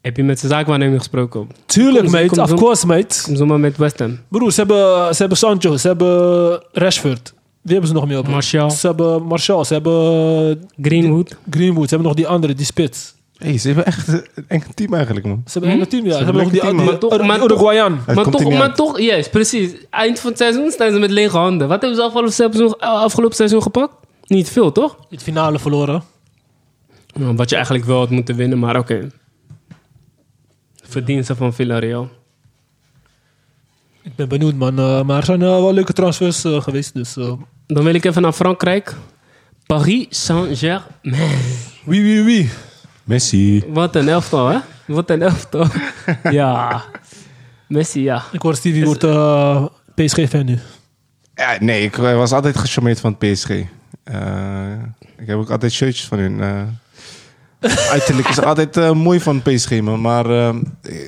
Heb je met zijn zaakwaarnemer gesproken? Tuurlijk, Kom, mate. kom, of kom. course, mate. Kom zomaar met West Ham. Broer, ze hebben, ze hebben Sancho, ze hebben Rashford. Wie hebben ze nog meer op? Martial. Ze hebben Martial, ze hebben Greenwood. Greenwood, ze hebben nog die andere, die spits. Hey, ze hebben echt eh, een eng team eigenlijk, man. Ze hebben een hele team, ja. Ze, hebben nog die, een die, team, man. Ur- die Maar toch- Uruguayan. maar Het komt er toch, niet maar uit. toch, juist, precies. Eind van het seizoen staan ze met lege handen. Wat hebben ze afgelopen seizoen, eh, afgelopen seizoen gepakt? Niet veel, toch? Het finale verloren. Nou, Wat je eigenlijk wel had moeten winnen, maar oké. Verdiensten van Villarreal. Ik ben benieuwd, man. eh, maar er zijn eh, wel leuke transfers eh, geweest, dus... eh, Dan wil ik even naar Frankrijk. Paris Saint-Germain. wie, wie, wie? Messi. Wat een elftal, hè? Wat een elftal. ja. Messi, ja. Ik hoor Stevie wordt eh, PSG-fan nu. Ja, nee, ik eh, was altijd gecharmeerd van het PSG. Eh, ik heb ook altijd shirtjes van hun. eh. uiterlijk is altijd eh, mooi van het PSG, man. Maar eh,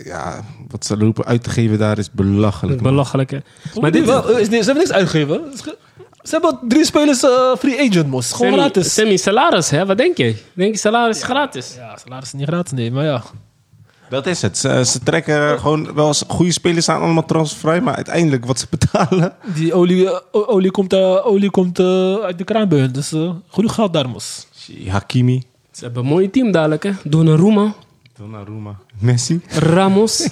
ja, wat ze lopen uit te geven daar is Dat is belachelijk. man. belachelijk, hè? Maar Maar dit wel, eh, is, dit- ze hebben niks uitgegeven. Ze hebben drie spelers eh, free agent, mos. Gewoon Sammy, gratis. Sammy, salaris, hè? Wat denk je? Denk je salaris is gratis? Ja, salaris is niet gratis, nee, maar ja. Dat is het. Ze, ze trekken gewoon wel eens goede spelers aan, allemaal transfervrij. Maar uiteindelijk wat ze betalen. Die olie, eh, o- olie komt, eh, olie komt eh, uit de kraan bij hun, dus eh, genoeg geld daar, mos. Hakimi, Ze hebben een mooi team dadelijk, hè? Donnarumma, Donnarumma, Messi. Ramos.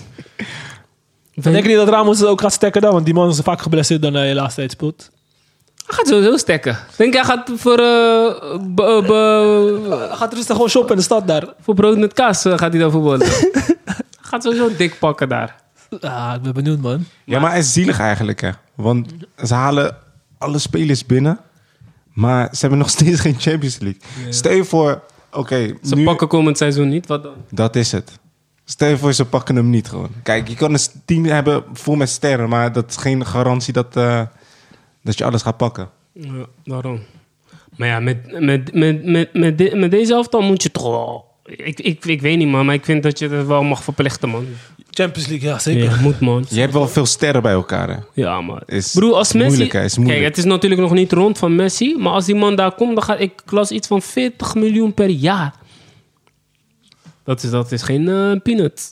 Ik denk Van- je niet dat Ramos ook gaat stekken dan, want die man is vaak geblesseerd dan hij de laatste tijd speelt. Hij gaat sowieso stekken. Denk hij gaat voor, eh, b- b- Hij Eh, gaat rustig gewoon shoppen in de stad daar. voor brood met kaas eh, gaat hij dan voetballen. Hij gaat sowieso dik pakken daar. Ah, ik ben benieuwd, man. Ja, maar het is zielig eigenlijk, hè. Want ze halen alle spelers binnen, maar ze hebben nog steeds geen Champions League. Stel je voor, oké, Ze nu- pakken komend seizoen niet, wat dan? dat is het. Stel je voor, ze pakken hem niet gewoon. Kijk, je kan een team hebben vol met sterren, maar dat is geen garantie dat, eh, dat je alles gaat pakken. Ja, daarom. Maar ja, met, met, met, met, met, de- met deze elftal moet je toch wel... Ik, ik, ik weet niet, man, maar ik vind dat je dat wel mag verplichten, man. Champions League, ja, zeker. Je moet, man. Je hebt wel veel sterren bij elkaar, hè. Ja, maar. Is Broer, als Messi. moeilijk, hè, is moeilijk. Kijk, het is natuurlijk nog niet rond van Messi. Maar als die man daar komt, dan gaat ik klas iets van 40 miljoen per jaar. Dat is, dat is geen eh, peanut.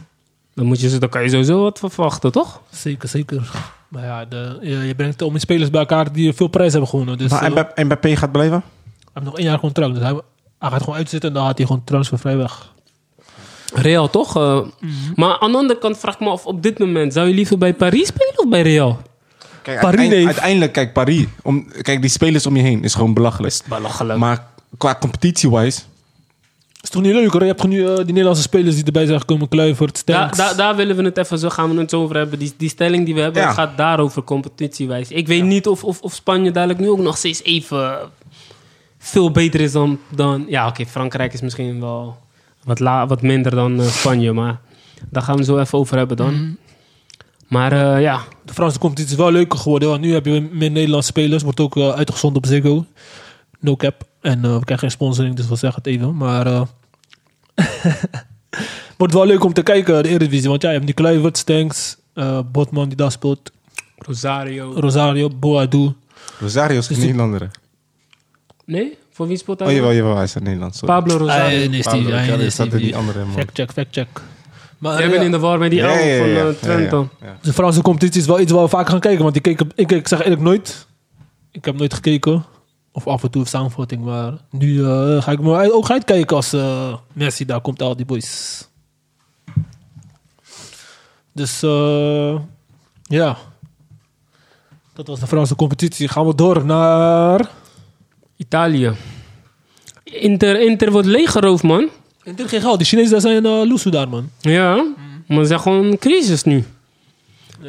Dan, moet je, dan kan je sowieso wat verwachten, toch? Zeker, zeker. Maar ja, de, je, je brengt om die spelers bij elkaar die veel prijs hebben gewonnen. Dus, Maar eh, Mbappé- Mbappé gaat blijven? Hij heeft nog één jaar contract. Dus hij, hij gaat gewoon uitzitten en dan gaat hij gewoon transfervrij weg. Real, toch? Eh, Maar aan de andere kant vraag ik me af, op dit moment, zou je liever bij Paris spelen of bij Real? Kijk, Paris uiteindelijk, heeft- uiteindelijk, kijk, Paris. Om, kijk, die spelers om je heen is gewoon belachelijk. Belachelijk. Maar qua competitie-wise, Is toch niet leuk hoor? Je hebt nu eh, die Nederlandse spelers die erbij zijn gekomen. Kluivert, Da- Stenks. da- daar willen we het even zo gaan we het zo over hebben. Die, die stelling die we hebben, Ja. het gaat daarover competitiewijs. Ik weet niet of, of, of Spanje dadelijk nu ook nog steeds even veel beter is dan. dan ja, oké, Frankrijk is misschien wel wat, la, wat minder dan eh, Spanje, maar daar gaan we zo even over hebben dan. Mhm. Maar eh, ja, De Franse competitie is wel leuker geworden. Want nu heb je meer Nederlandse spelers. Wordt ook eh, uitgezonden op Ziggo. No cap. En eh, we krijgen geen sponsoring, dus we zeggen het even. Maar eh, wordt wel leuk om te kijken, de Eredivisie. Want ja, je hebt die Kluivert, Stenks, eh, Botman die daar speelt. Rosario. Rosario, Boadu. Rosario is geen Nederlander. hè? Nee? Voor wie speelt hij? Oh jawel, Eh, jawel, hij is uit Nederland. Sorry. Pablo Rosario. Ah, nee, Stevie, Pablo, ah, ja, nee, dat staat in die Stevie. andere, man. Fact check, fact check. Maar, Jij eh, bent ja. in de war met die Ja, oude ja, ja, van ja, eh, ja, Twente. ja, ja. De Franse competitie is wel iets waar we vaak gaan kijken. Want ik, keek, op- ik, ik zeg eerlijk nooit. Ik heb nooit gekeken. Of af en toe samenvatting. Maar nu eh, ga ik me uit- ook uitkijken als eh, Messi daar komt. Al die boys. Dus eh, ja. Dat was de Franse competitie. Gaan we door naar... Italië. Inter, Inter wordt leeggeroofd, man. Inter geen geld. De Chinezen daar zijn eh loesoe daar, man. Ja, maar het is echt gewoon een crisis nu.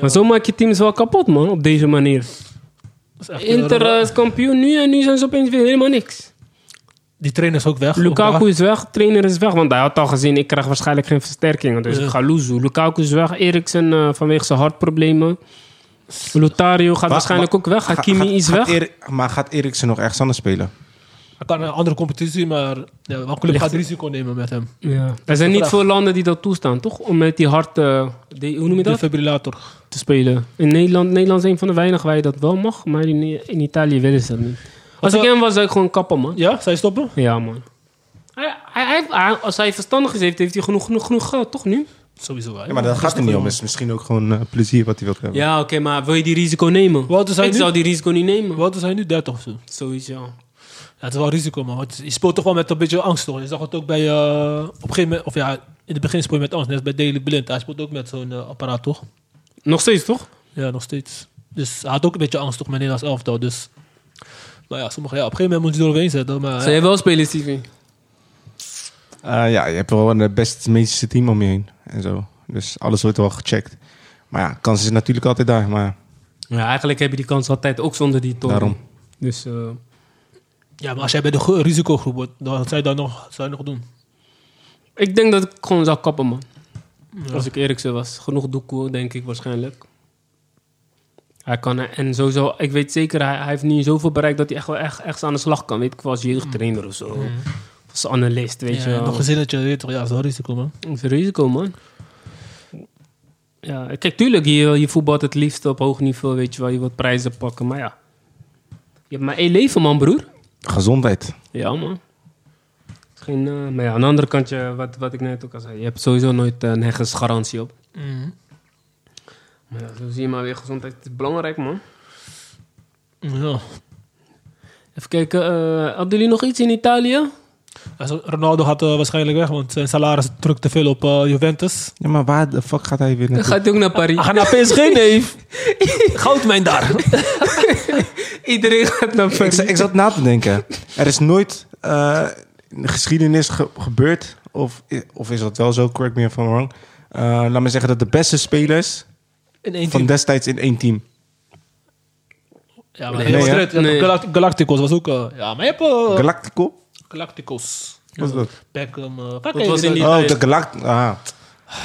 Maar zo maak je teams wel kapot, man, op deze manier. Dat is echt Inter een- eh, is kampioen nu en nu zijn ze opeens weer helemaal niks. die trainer is ook weg. Lukaku Ook is weg, trainer is weg, want hij had al gezien, ik krijg waarschijnlijk geen versterkingen. Dus Ja. ik ga loezoe. Lukaku is weg, Eriksen eh, vanwege zijn hartproblemen. Lotario gaat waarschijnlijk ook weg, Hakimi Gaat- is gaat weg. Erik- maar gaat Eriksen nog ergens anders spelen? daar. Hij kan een andere competitie, maar ja, welke club gaat risico nemen met hem? Ja. Er zijn de niet vraag. veel landen die dat toestaan, toch? Om met die hart, eh, die, hoe noem je dat? Defibrillator. te spelen. In Nederland, Nederland is een van de weinigen waar je dat wel mag, maar in, in Italië willen ze dat niet. Als Wat, ik hem was, zou ik gewoon kappen, man. Ja, zou je stoppen? Ja, man. Hij, hij, hij- hij- als hij verstandig is, heeft, heeft hij genoeg, genoeg, genoeg geld, toch nu? Sowieso wel. Ja, maar dat gaat er niet om. Het is misschien ook gewoon eh, plezier wat hij wil hebben. Ja, oké, maar wil je die risico nemen? Wat is hij ik nu? zou die risico niet nemen. Wat is hij nu 30 of zo? Ja, Sowieso. het is wel risico, man. Want je speelt toch wel met een beetje angst, toch? Je zag het ook bij... eh, op een gegeven moment... Of ja, in het begin speel je met angst. Net als bij Daily Blind. Hij speelt ook met zo'n eh, apparaat, toch? Nog steeds, toch? Ja, nog steeds. Dus hij had ook een beetje angst, toch? Met Nederlands elftal, dus... Maar ja, sommige, ja, op een gegeven moment moet je er doorheen zetten. Maar, Zou jij wel spelen, Steven? Eh, ja, je hebt wel een eh, best medische team om je heen en zo. Dus alles wordt wel gecheckt. Maar ja, kans is natuurlijk altijd daar. Maar Ja, eigenlijk heb je die kans altijd, ook zonder die toren. Daarom. Dus, eh, ja, maar als jij bij de gro- risicogroep wordt, dan wat zou je dat nog, wat zou je nog doen. ik denk dat ik gewoon zou kappen, man. Als ik Eriksen was. Genoeg doekoe, denk ik waarschijnlijk. Hij kan, en sowieso, ik weet zeker, hij, hij heeft nu zoveel bereikt dat hij echt wel echt, echt aan de slag kan. Weet ik, wel, als jeugdtrainer of zo. Als analist, weet je Ja, wel. nog een zinnetje, weet je toch? Ja, dat is wel risico, man. Dat is een risico, man. Ja, kijk, tuurlijk, je, je voetbalt het liefst op hoog niveau, weet je wel. Je wilt prijzen pakken, maar ja. Je hebt maar één leven, man, broer. gezondheid. Ja, man. Geen, eh, maar ja, aan de andere kant, je, wat, wat ik net ook al zei, je hebt sowieso nooit eh, nergens garantie op. Maar ja, zo zie je maar weer, gezondheid is belangrijk, man. Ja. Even kijken, eh, hadden jullie nog iets in Italië? Also, Ronaldo gaat eh, waarschijnlijk weg, want zijn salaris drukt te veel op eh, Juventus. Ja, maar waar de fuck gaat hij weer Dan naartoe? gaat hij ook naar Hij Parijs. gaat naar PSG, neef. Goudmijn daar. ah. Iedereen gaat naar Ik, Parijs. za- ik zat na te denken. Er is nooit eh, in de geschiedenis ge- gebeurd, of, i- of is dat wel zo, correct me if I'm wrong. Eh, laat me zeggen dat de beste spelers In één van team. destijds in één team. Ja, maar Nee, Real hè? Madrid, ja, Nee. Galact- Galacticos was ook... eh, ja, maar je hebt... eh, Galactico? Galacticos. Wat is dat? Beckham. eh, Dat was in die Oh, tijd. de Galact... Ah.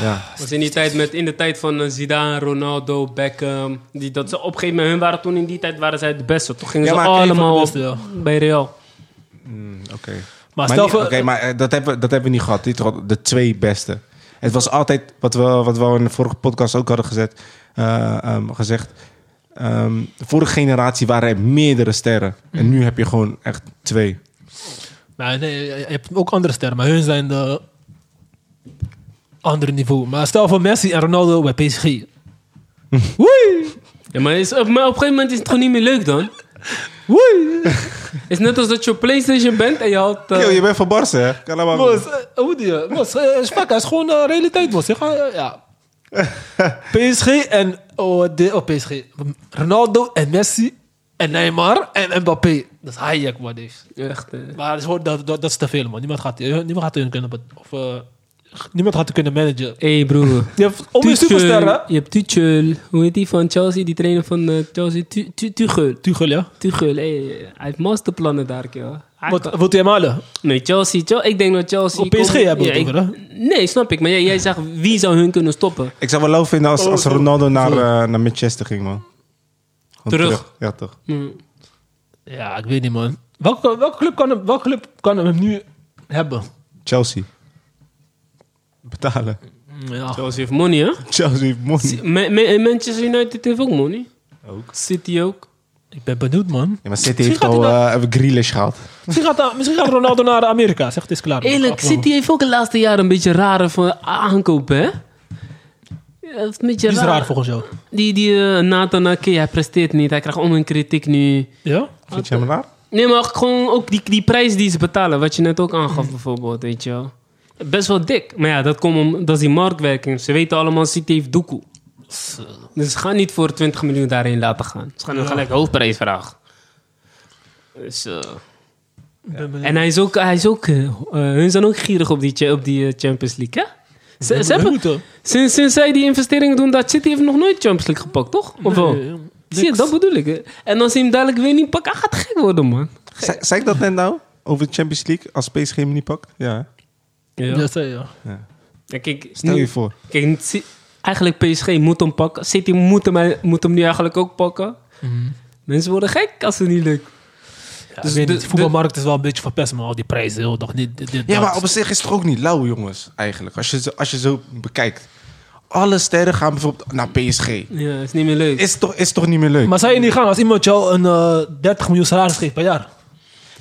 Ja. was in die tijd met, in de tijd van eh, Zidane, Ronaldo, Beckham. Die, dat ze op een gegeven moment, hun waren toen in die tijd, waren zij de beste. Toch gingen Ja, ze maar een van de allemaal beste, op bij Real. Oké. Maar Maar, stel niet- voor- oké, maar eh, dat, hebben, we- dat hebben we niet gehad. Dit waren de twee beste. Het was altijd, wat we, wat we al in de vorige podcast ook hadden gezet, eh, ehm, gezegd. ehm, de vorige generatie waren er meerdere sterren. En Mhm. nu heb je gewoon echt twee. Maar nee, eh, je hebt ook andere sterren, maar hun zijn de... Andere niveau. Maar stel voor Messi en Ronaldo bij PSG. Ja, maar, is, op, maar op een gegeven moment is het gewoon niet meer leuk dan. Woei! Het is net als dat je op Playstation bent en je had... eh, Yo, je bent van Barca, hè? Kan allemaal. Mos, eh, hoe die je? Mos, eh, is fuck, hij is gewoon eh, realiteit, Mos. Je gaat, eh, ja. PSG en... Oh, de, oh, PSG. Ronaldo en Messi en Neymar en Mbappé. Dat is Hayek, man. deze. Echt, eh, Maar dat is, gewoon- dat, dat, dat is te veel, man. Niemand gaat, eh, niemand gaat hun kunnen... be- Of, eh, niemand gaat hun kunnen managen. Hé hey, broer. Je hebt om je Tuchel, superster, hè? Je hebt Tuchel. Hoe heet die van Chelsea? Die trainer van eh, Chelsea. Tu- Tu- Tuchel. Tuchel, ja. Tuchel, hé, hij heeft masterplannen daar, kerel. Hij Wat, kan- wat wil je hem halen? Nee, Chelsea, Chel- Ik denk dat Chelsea... Op PSG komt- hebben we Ja, het ik- over, Nee, snap ik. Maar jij, jij zegt, wie zou hun kunnen stoppen? Ik zou wel leuk vinden als, als Ronaldo naar, sorry. eh, naar Manchester ging, man. Gewoon Terug. Ja, toch? Hm. Ja, ik weet niet, man. Welke, welke, club, kan hem, welke club kan hem nu hebben? Chelsea. Betalen. Ja. Chelsea heeft money, hè? Chelsea heeft money. Ma- Ma- en Manchester United heeft ook money. Ook. City ook. Ik ben benieuwd, man. Ja, maar City heeft gaat al hij eh Grealish gehad. Misschien gaat, misschien gaat Ronaldo naar Amerika. Zeg, het is klaar. Eerlijk, Afgelopen. City heeft ook de laatste jaren een beetje rare van aankopen, hè? Ja, dat is een beetje Die is raar. raar volgens jou. Die, die eh, Nathan Ake, hij presteert niet. Hij krijgt om een kritiek nu. Ja? Vind je hem raar? Nee, maar gewoon ook die, die prijs die ze betalen. Wat je net ook aangaf bijvoorbeeld, weet je wel. Best wel dik. Maar ja, dat, komt om, dat is die marktwerking. Ze weten allemaal, City heeft doekoe. Dus ze gaan niet voor 20 miljoen daarin laten gaan. Ze gaan hem gelijk hoofdprijs vragen. Dus, eh, En hij is ook... Hij is ook eh, eh, hun zijn ook gierig op die, cha- op die eh, Champions League, hè? Ze, ze hebben, moeten. sinds, sinds zij die investeringen doen, dat City heeft nog nooit Champions League gepakt, toch? Of wel? Nee, Zie je, niks. dat bedoel ik. hè. En als hij hem dadelijk weer niet pakt, hij gaat gek worden, man. Ze- Zei ik dat net nou? Over de Champions League als PSG hem niet pakt? Ja. hè? Ja. Dat zei je, ja. Ja, kijk, Stel nu- je voor. Kijk, niet Ci- eigenlijk PSG moet hem pakken. City moet hem, moet hem nu eigenlijk ook pakken. Mensen worden gek als het niet lukt. Ja, Dus ik weet de- niet, de voetbalmarkt is wel een beetje verpest, maar al die prijzen, joh, toch niet. Dit, dit, Ja, dat. maar op zich is het toch ook niet lauw, jongens, eigenlijk. Als je, zo- als je zo bekijkt. Alle sterren gaan bijvoorbeeld naar PSG. Ja, is niet meer leuk. Is toch, is toch niet meer leuk? Maar zou je niet gaan als iemand jou een eh 30 miljoen salaris geeft per jaar?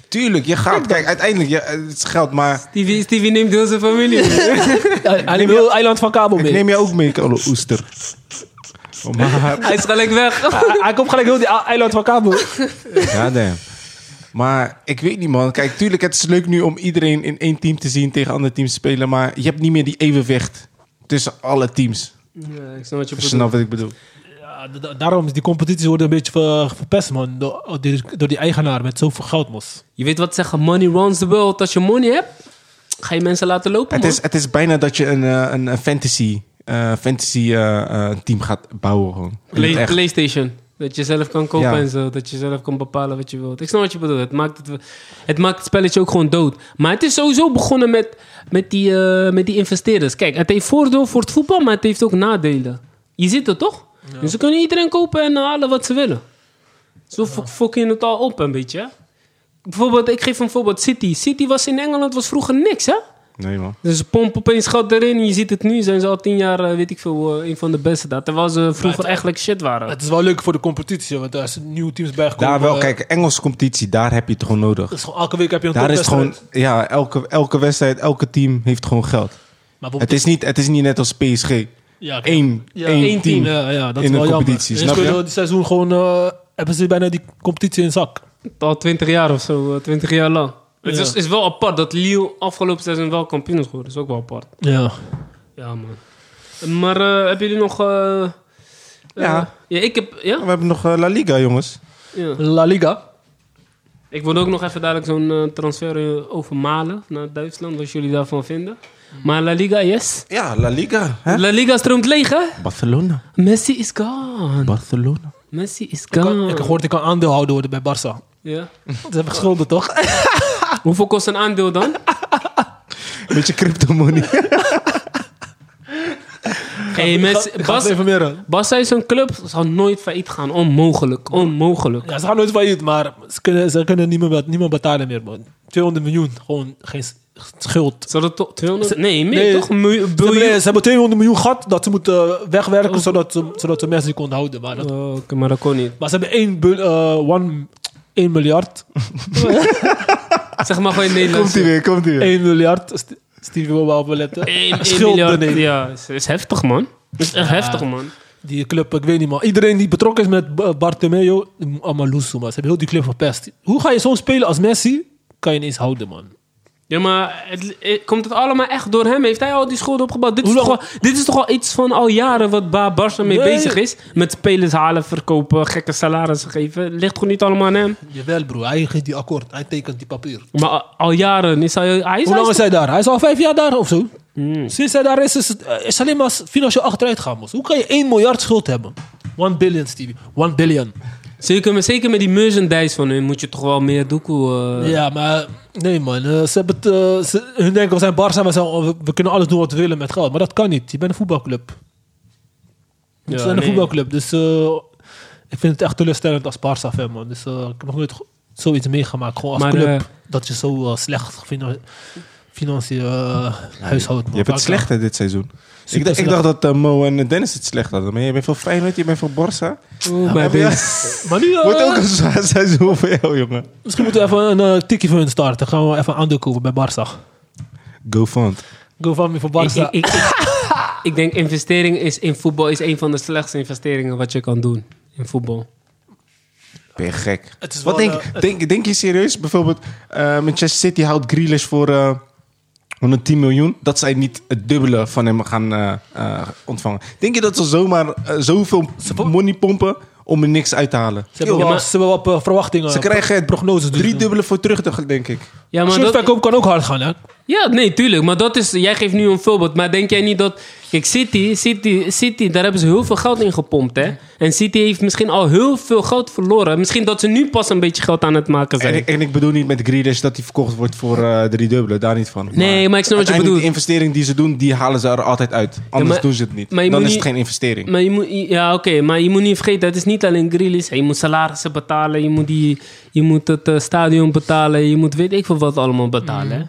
Tuurlijk, je gaat. Kijk, uiteindelijk, ja, het is geld, maar Stevie, Stevie neemt heel zijn familie mee. Hij hij neemt heel eiland van kabel ik mee. neem jou ook mee, Carlo Oester. Oh, maar, Hij is gelijk weg. Hij, hij komt gelijk heel die a- eiland van kabel. ja, damn. maar ik weet niet, man. Kijk, tuurlijk, het is leuk nu om iedereen in één team te zien tegen andere teams te spelen. Maar je hebt niet meer die evenwicht tussen alle teams. Ja, ik snap wat je Als je bedoelt. snapt wat ik bedoel. Ja, da- da- daarom is die competities worden een beetje ver- verpest, man. Door, door- door die eigenaar met zoveel geld, mos. Je weet wat ze zeggen, money runs the world. Als je money hebt, ga je mensen laten lopen, Het man. is, het is bijna dat je een, eh, een, een fantasy, eh, fantasy eh, eh, team gaat bouwen. Gewoon. In Play- het echt. PlayStation. Dat je zelf kan kopen Ja. en zo. Dat je zelf kan bepalen wat je wilt. Ik snap wat je bedoelt. Het maakt het, het, maakt het spelletje ook gewoon dood. Maar het is sowieso begonnen met, met, die, eh, met die investeerders. Kijk, het heeft voordeel voor het voetbal, maar het heeft ook nadelen. Je ziet het toch? Dus ze kunnen iedereen kopen en halen wat ze willen. Zo fok- fok je het al op een beetje. hè? Bijvoorbeeld, ik geef een voorbeeld. City. City was in Engeland was vroeger niks, hè? Nee, man. Dus ze pompen opeens geld erin. Je ziet het nu. Zijn ze al tien jaar, eh, weet ik veel, eh, een van de beste daar. Terwijl ze vroeger het- eigenlijk shit waren. Het is wel leuk voor de competitie, want daar zijn nieuwe teams bijgekomen. Daar wel, Eh, kijk, Engelse competitie, daar heb je het gewoon nodig. dat is gewoon- elke week heb je een Daar is het gewoon, topwedstrijd. ja, elke, elke wedstrijd, elke team heeft gewoon geld. Maar Het bijvoorbeeld- is niet, het is niet net als PSG. ja, oké. Eén, Ja, één, één team. team, Ja, ja, dat in is wel een jammer. competitie, Dus snap kunnen je? we dit seizoen gewoon, eh, hebben ze bijna die competitie in zak. Al twintig jaar of zo, eh, twintig jaar lang. Het Ja. is, is wel apart dat Lille afgelopen seizoen wel kampioen is geworden. is ook wel apart. Ja. Ja, man. Maar eh, hebben jullie nog... eh, eh, Ja. ja, ik heb... We Ja? hebben nog eh, La Liga, jongens. ja. La Liga. Ik wil ook nog even dadelijk zo'n eh, transfer eh, over Malen naar Duitsland. Wat jullie daarvan vinden. Maar La Liga, yes. Ja, La Liga. Hè? La Liga stroomt leeg, hè? Barcelona. Messi is gone. Barcelona. Messi is Ik gone. heb ik heb gehoord, ik kan aandeelhouder worden bij Barça. Ja. Ze Mm. hebben geschulden, toch? Hoeveel kost een aandeel dan? Beetje crypto money. hey, Messi, Gaat Bas, even meer Barca is een club, zal nooit failliet gaan. Onmogelijk, onmogelijk. Ja, ze gaan nooit failliet, maar ze kunnen, ze kunnen niet, meer, bet- niet meer betalen meer, man. 200 miljoen, gewoon geen s- schuld. Zou dat toch 200? Nee, meer nee, toch? Een miljoen- Ze hebben, Oh. biljoen? ze hebben 200 miljoen gehad dat ze moeten eh, wegwerken zodat, ze, zodat ze mensen konden houden. Maar, dat, Oh, Oké, maar dat kon niet. maar ze hebben 1, one, 1 miljard. Zeg maar gewoon in Nederland. komt ie weer, komt ie weer. 1 miljard. St- Stevie wil wel beletten. 1 Schulden, miljard. nee. Ja, is, is heftig, man. Is echt heftig, man. Die club, ik weet niet, man. Iedereen die betrokken is met B- Bartomeu, die moet allemaal loes, doen, man. Ze hebben heel die club verpest. Hoe ga je zo'n spelen als Messi? Kan je ineens houden, man. Ja, maar het, eh, komt het allemaal echt door hem? Heeft hij al die schulden opgebouwd? Dit is, Hoe toch lang- wel, dit is toch al iets van al jaren wat Ba Barca mee Nee. bezig is? Met spelers halen, verkopen, gekke salarissen geven. Ligt gewoon niet allemaal aan hem? Jawel, broer. Hij geeft die akkoord. Hij tekent die papier. Maar al, al jaren is hij... hij is, Hoe lang hij is hij daar? Hij is al vijf jaar daar of zo. Mm. Sinds hij daar is, is, het, eh, is alleen maar financieel achteruit gaan. Mos. Hoe kan je 1 miljard schuld hebben? 1 billion, Stevie. 1 billion. Zeker, met- zeker met die merchandise van hun moet je toch wel meer doekoe... eh, Ja, maar nee, man. eh, ze hebben het, eh, ze- hun denken, we zijn Barca, we, zijn, we, we kunnen alles doen wat we willen met geld. Maar dat kan niet. Je bent een voetbalclub. Ja, we zijn nee. een voetbalclub. Dus eh, ik vind het echt teleurstellend als Barca-fan, man. Dus eh, ik heb nog nooit go- zoiets meegemaakt. Gewoon als Maar, club. eh, dat je zo eh, slecht finan financieel eh, huishoudt. Je hebt het slecht hè, dit seizoen. Ik, dacht- ik slecht. dacht dat eh, Mo en Dennis het slecht hadden. Maar jij bent voor Feyenoord, je bent voor Barca. Oeh, maar Heb je- dit- Maar nu... eh, Wordt ook een zwaar seizoen voor jou, jongen. Misschien moeten we even een eh, tikkie voor hun starten. Gaan we even een aandeel kopen bij Barca. Go fund. Go van me voor Ik, Barca. ik, ik, ik- ik denk investering is in voetbal is een van de slechtste investeringen wat je kan doen in voetbal. ben je gek. Het is Wat wel, denk, eh, het- denk, denk je serieus? Bijvoorbeeld eh, Manchester City houdt Grealish voor eh, 110 miljoen. Dat zij niet het dubbele van hem gaan eh, eh, ontvangen. Denk je dat ze zomaar eh, zoveel money pompen om er niks uit te halen? Ze hebben, wel, maar- ze hebben wel eh, verwachtingen. Ze krijgen het prognoses. dus. drie dubbele voor terug, toch, denk ik. Ja, maar dat, Shirtverkoop kan ook hard gaan, hè? Ja, nee, tuurlijk. Maar dat is, jij geeft nu een voorbeeld. Maar denk jij niet dat... Kijk, City, City, City, daar hebben ze heel veel geld in gepompt, hè? En City heeft misschien al heel veel geld verloren. Misschien dat ze nu pas een beetje geld aan het maken zijn. En ik, en ik bedoel niet met Grealish dat hij verkocht wordt voor eh, drie dubbele. Daar niet van. Nee, maar ik snap wat je uiteindelijk bedoelt. Die investering die ze doen, die halen ze er altijd uit. Anders maar- doen ze het niet. maar je Dan moet is niet- het geen investering. Maar je moet, ja, oké, maar je moet niet vergeten, het is niet alleen Grealish. Je moet salarissen betalen, je moet, die, je moet het eh, stadion betalen, je moet weet ik veel wat allemaal betalen. Mm. hè.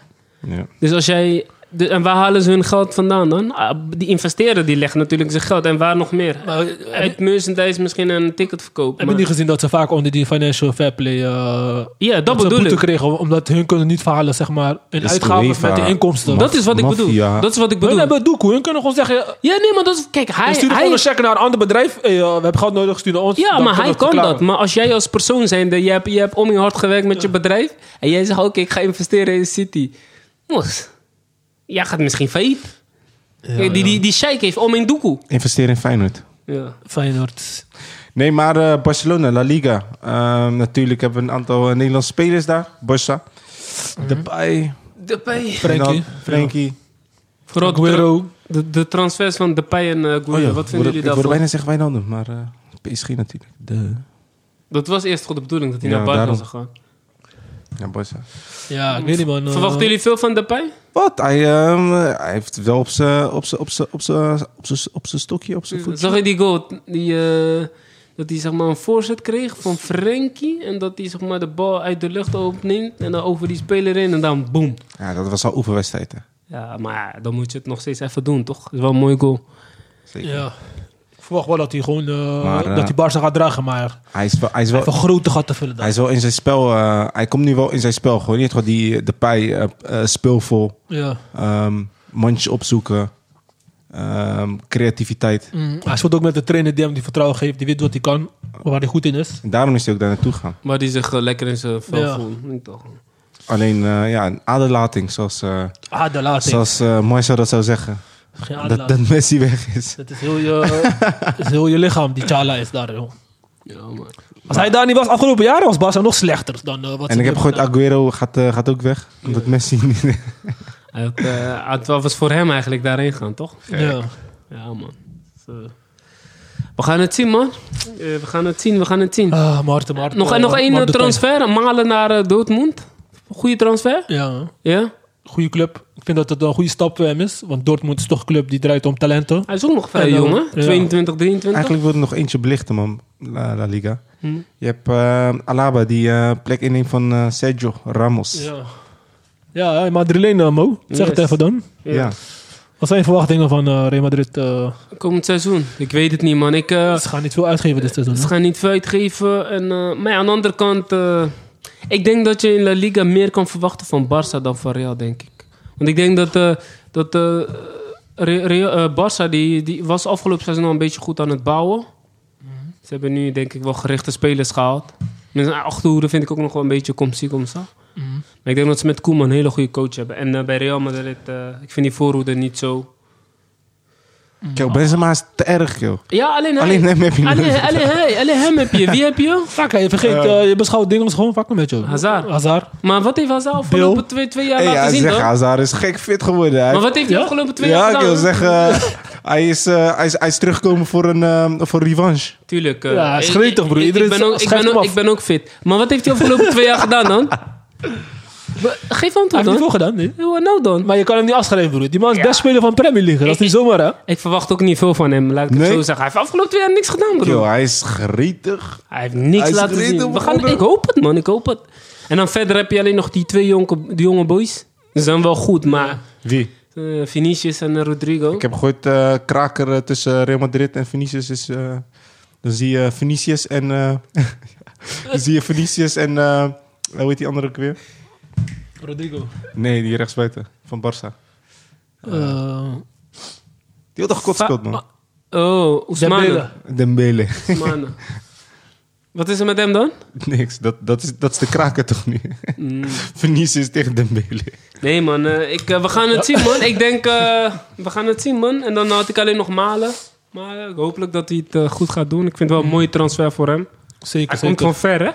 Ja. Dus als jij... de- en waar halen ze hun geld vandaan dan? Ah, die investeren die leggen natuurlijk zijn geld. En waar nog meer? Maar, Uit merchandise misschien en een ticket verkopen. Heb je niet gezien dat ze vaak onder die financial fair play... eh, Ja, dat ze bedoel boete ik. kregen, omdat hun kunnen niet verhalen, zeg maar, hun Is uitgaven UEFA. met de inkomsten. Dat is wat ik Maffia. bedoel. Dat is wat ik Hun bedoel. hebben doekoe. Hun kunnen gewoon zeggen... eh, Ja, nee, maar dat is... Kijk, We hij... sturen hij gewoon een check naar een ander bedrijf. Hey, eh, we hebben geld nodig, stuur naar ons. ja, Dan maar hij kunnen we kan verklaren. dat. Maar als jij als persoon zijnde... Je hebt, je hebt om je hart gewerkt met je bedrijf... En jij zegt, oké, ik ga investeren in City. Mos. Jij gaat misschien failliet. Kijk, die, die, die sheik heeft om in doekoe. Investeren in Feyenoord. Ja. Feyenoord. Nee, maar eh, Barcelona, La Liga. Ehm, natuurlijk hebben we een aantal eh, Nederlandse spelers daar. Barça. Mhm. Depay. Depay. Frenkie. Ronald- Frenkie. Vooral de, Aguero. de, de transfers van Depay en eh Guerrero. Oh ja, Wat vinden ik jullie wilde- Ik wilde daarvan? bijna zeggen Wijnaldum, maar eh, PSG natuurlijk. De. Dat was eerst goed de bedoeling dat hij Ja, naar Barca daarom. zou gaan. Ja, Barça. Ja, ik weet niet, man. eh, Verwachten jullie veel van Depay? Wat? Hij, ehm, hij heeft wel op zijn op zijn- op zijn- op zijn- op zijn- op zijn stokje, op zijn voet. Zag je die goal? Die, eh, dat hij zeg maar een voorzet kreeg van Frenkie. En dat hij zeg maar, de bal uit de lucht opneemt. En dan over die speler in. En dan boom. Ja, dat was al oefenwedstrijd, hè. Ja, maar dan moet je het nog steeds even doen, toch? Dat is wel een mooie goal. Zeker. Ja. Ik verwacht wel dat hij gewoon... eh, Maar, eh, dat hij Barca gaat dragen, maar... Hij, is wel, hij, is wel, Even grote gat te vullen dan. hij is wel in zijn spel... eh, hij komt nu wel in zijn spel. Gewoon niet gewoon die Depay eh, eh, speelvol. Ja. ehm mandje opzoeken, ehm, creativiteit. Mm, Hij speelt ook met de trainer die hem die vertrouwen geeft. Die weet wat hij kan. Waar hij goed in is. En daarom is hij ook daar naartoe gegaan. Maar die zich eh, lekker in zijn vel Ja. voelt. Niet toch? Alleen eh, ja, een aderlating, zoals, eh Ah, de laatste. zoals eh, Marcel dat zou zeggen. Geen Dat, aanlaat. dat Messi weg is. Dat is heel je, dat is heel je lichaam, die Chala is daar, joh. Ja, maar... Als hij daar niet was afgelopen jaren, was Barca nog slechter dan eh, wat En ik heb gehoord, gehoord Aguero gaat, eh, gaat ook weg. Omdat Messi niet... Hij had, eh, het was voor hem eigenlijk daarheen gaan, toch? Ja. Ja, man. Dus, eh, we gaan het zien, man. Eh, we gaan het zien, we gaan het zien. Ah, Maarten, Maarten. nog, eh, en nog één eh, Maarten transfer. Malen naar eh, Dortmund. Goeie transfer. Pijn. Ja, Ja? goede club. Ik vind dat het een goede stap voor hem is. Want Dortmund is toch een club die draait om talenten. Hij is ook nog vrij Ja, jong, daarom. hè? Ja. 22, 23. Eigenlijk wilde ik nog eentje belichten, man. La, La Liga. Hm. Je hebt eh, Alaba, die eh, plek inneemt van eh, Sergio Ramos. Ja. Ja, ja hey, Madrileen, eh, Mo. Zeg het Yes. even dan. Wat zijn je verwachtingen van eh, Real Madrid? eh Komend seizoen. Ik weet het niet, man. Ik, eh, ze gaan niet veel uitgeven dit seizoen. ze hè? gaan niet veel uitgeven. En, eh, maar ja, aan de andere kant... eh, ik denk dat je in La Liga meer kan verwachten van Barça dan van Real, denk ik. Want ik denk dat... eh, dat eh, Re- Real- eh, Barça die, die was afgelopen seizoen al een beetje goed aan het bouwen. Ze hebben nu, denk ik, wel gerichte spelers gehaald. Met zijn achterhoede vind ik ook nog wel een beetje komstie, komstie. Maar ik denk dat ze met Koeman een hele goede coach hebben. En eh, bij Real Madrid, eh, ik vind die voorhoede niet zo... Kijk, Benzema is te erg, joh. Ja, alleen hij. Alleen hem heb je alleen, nodig. alleen hij, alleen hem heb je. Wie heb je? Vaak, hè, je vergeet, eh, je beschouwt dingen als gewoon vakken met je. Hazard. Hazard. Maar wat heeft Hazard afgelopen twee, twee jaar Hey, ja, laten zien zeg, dan? Hazard is gek fit geworden. Hij Maar wat heeft hij Ja? afgelopen twee ja, jaar ik gedaan? wil zeggen, eh, hij, is, eh, hij, is, hij is teruggekomen voor een, eh, voor een revanche. Tuurlijk. eh, Ja, hij is ik- gretig, broer. ik- Ik, Iedereen ben ook, ik, schrijft ben hem ook, af. ik ben ook fit. Maar wat heeft hij afgelopen twee jaar gedaan dan? Wa- Geef Hij antwoord heeft niet veel dan. gedaan, nee. Ja, wat nou dan? Maar je kan hem niet afschrijven, broer. Die man is best speler van Premier League. Dat is niet zomaar, hè? Ik verwacht ook niet veel van hem, laat ik het Nee? zo zeggen. Hij heeft afgelopen twee jaar niks gedaan, broer. Yo, hij is gretig. Hij heeft niks Hij is laten gretig zien. We gaan, begonnen. ik hoop het, man. Ik hoop het. En dan verder heb je alleen nog die twee jonge, die jonge boys. Ze zijn wel goed, maar... Wie? eh Vinicius en eh, Rodrigo. Ik heb gehoord, eh, kraker eh, tussen Real Madrid en Vinicius is... eh, dan zie je Vinicius en... eh, dan zie je Vinicius en... eh, hoe heet die andere ook weer? Rodrigo. Nee, die rechtsbuiten van Barça. Eh Die had toch kort Va- gespeeld, man? Oh, Oesmane. Dembele. Dembele. Oesmane. Wat is er met hem dan? Niks, dat, dat, is, dat is de kraker toch nu? Mm. Verniezen is tegen Dembele. Nee, man. eh, ik, eh, we gaan het zien, man. Ik denk, eh, we gaan het zien, man. En dan had ik alleen nog Malen. Maar eh, hopelijk dat hij het eh, goed gaat doen. Ik vind het wel een mooie transfer voor hem. Zeker, Hij komt zeker. van ver, hè?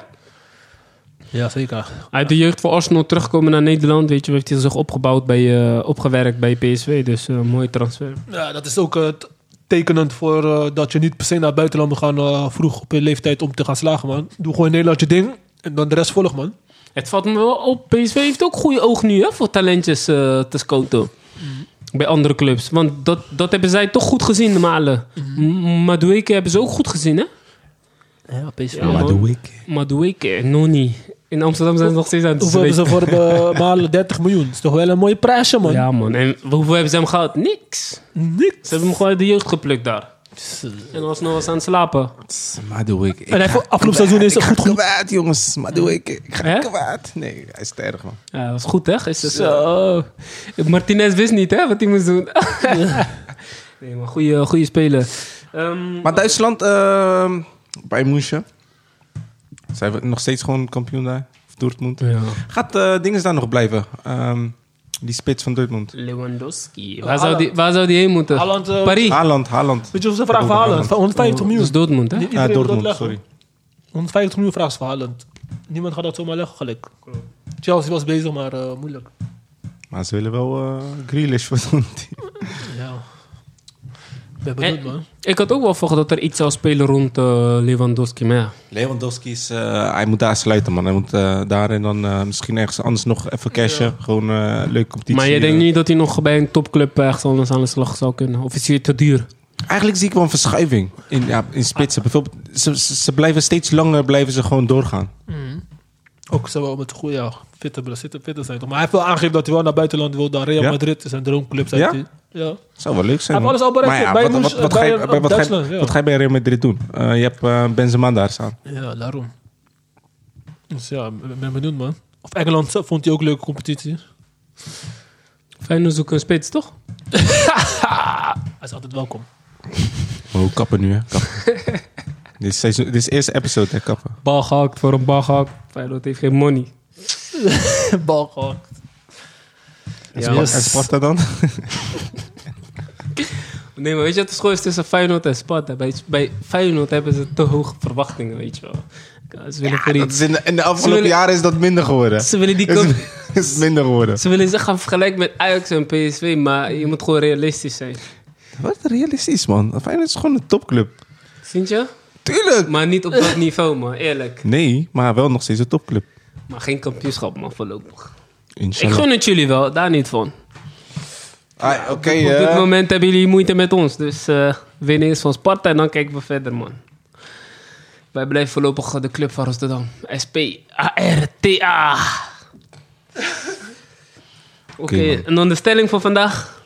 Ja, zeker. Uit de jeugd voor Arsenal terugkomen naar Nederland. Weet je, heeft hij zich opgebouwd bij, eh, opgewerkt bij PSV. Dus eh, een mooie transfer. Ja, dat is ook eh, t- tekenend voor eh, dat je niet per se naar het buitenland moet gaan eh, vroeg op je leeftijd om te gaan slagen, man. Doe gewoon in Nederland je ding en dan de rest volg, man. Het valt me wel op. PSV heeft ook goede oog nu hè, voor talentjes eh, te scouten. Mhm. Bij andere clubs. Want dat, dat hebben zij toch goed gezien, de Malen. Mhm. Mm. Madueke hebben ze ook goed gezien, hè? Ja, PSV. Ja, man. Madueke, Noni. In Amsterdam zijn ze nog steeds aan het Hoeveel hebben zweten. ze voor eh, malen 30 miljoen? Dat is toch wel een mooie prijsje, man. Ja, man. En hoeveel hebben ze hem gehad? Niks. Niks. Ze hebben hem gewoon uit de jeugd geplukt daar. En Arsenal was aan het slapen. Maar doe ik. ik En hij voor afgelopen seizoen is het goed genoeg. kwaad, jongens. Maar doe ik. Ik ga Hè? kwaad. Nee, hij is te erg, man. Ja, dat was goed, hè? Gisteren. Zo. Martinez wist niet, hè, wat hij moest doen. nee, maar goede, goede speler. Ehm, Maar Duitsland, ehm, bij Moesje. Zijn we nog steeds gewoon kampioen daar? Of Dortmund? ja. Gaat eh Dinges daar nog blijven? Ehm, die spits van Dortmund. Lewandowski. Oh, Waar zou, die, Haaland. waar zou die heen moeten? Haaland, eh, Paris. Haaland, Haaland. Weet je wat ze vragen voor Haaland? Van 150 Oh, Dat is miljoen. Dortmund, hè? Niet Ja, iedereen wil dat Dortmund, leggen. sorry. 150 miljoen vragen ze voor Haaland. Niemand gaat dat zomaar leggen, gelijk. Chelsea was bezig, maar eh, moeilijk. Maar ze willen wel eh Grealish voor zo'n team. Ja. Ik ben benieuwd, Eh, man. Ik had ook wel verwacht dat er iets zou spelen rond eh, Lewandowski. Maar ja. Lewandowski is, eh, hij moet daar sluiten, man. Hij moet eh, daar en dan eh, misschien ergens anders nog even cashen. Gewoon eh leuke competitie. Maar je eh. denkt niet dat hij nog bij een topclub echt anders aan de slag zou kunnen? Of is hij te duur? Eigenlijk zie ik wel een verschuiving in, ja, in spitsen. Bijvoorbeeld, ze, ze, ze blijven steeds langer blijven ze gewoon doorgaan. Ook zou wel met goede ja, fitte, bla- fitte, fitte zijn. Toch? Maar hij heeft wel aangegeven dat hij wel naar buitenland wil. Dan Real Ja? Madrid is zijn droomclub. zei Ja? hij. ja. Zou wel leuk zijn. Hij heeft man. alles al Maar bereikt. Bij wat, Moes- wat, wat, bij- ga je, op bij- wat, ga je, Duitsland, ja. wat ga je bij Real Madrid doen? Eh, je hebt eh, Benzema daar staan. Ja, daarom. Dus ja, ik ben benieuwd, man. Of Engeland zelf vond hij ook een leuke competitie. Feyenoord zoeken een spits, toch? Hij is altijd welkom. Oh, kappen nu, hè. Kappen. dit, is seizoen, dit is de eerste episode, hè, kappen. Bal gehakt voor een bal gehakt. Feyenoord heeft geen money. Bal gewoon. En, Ja, Spa- yes. en Sparta dan? Nee, maar weet je wat het verschil is tussen Feyenoord en Sparta? Bij, bij Feyenoord hebben ze te hoge verwachtingen, weet je wel. Ze willen, voor die- Dat is in, de, in de afgelopen Ze willen- jaren is dat minder geworden. ze willen die Is, kant- is minder geworden. Ze willen zich gaan vergelijken met Ajax en PSV, maar je moet gewoon realistisch zijn. Wat realistisch, man. Feyenoord is gewoon een topclub. Vind je? Tuurlijk! Maar niet op dat niveau, man. Eerlijk. Nee, maar wel nog steeds een topclub. Maar geen kampioenschap, man, voorlopig. Ik Inshallah. gun het jullie wel, daar niet van. Ah, Oké, Op dit eh, moment hebben jullie moeite met ons. Dus eh winnen is van Sparta en dan kijken we verder, man. Wij blijven voorlopig de club van Rotterdam. S-P-A-R-T-A. Oké, man. en dan de stelling voor vandaag.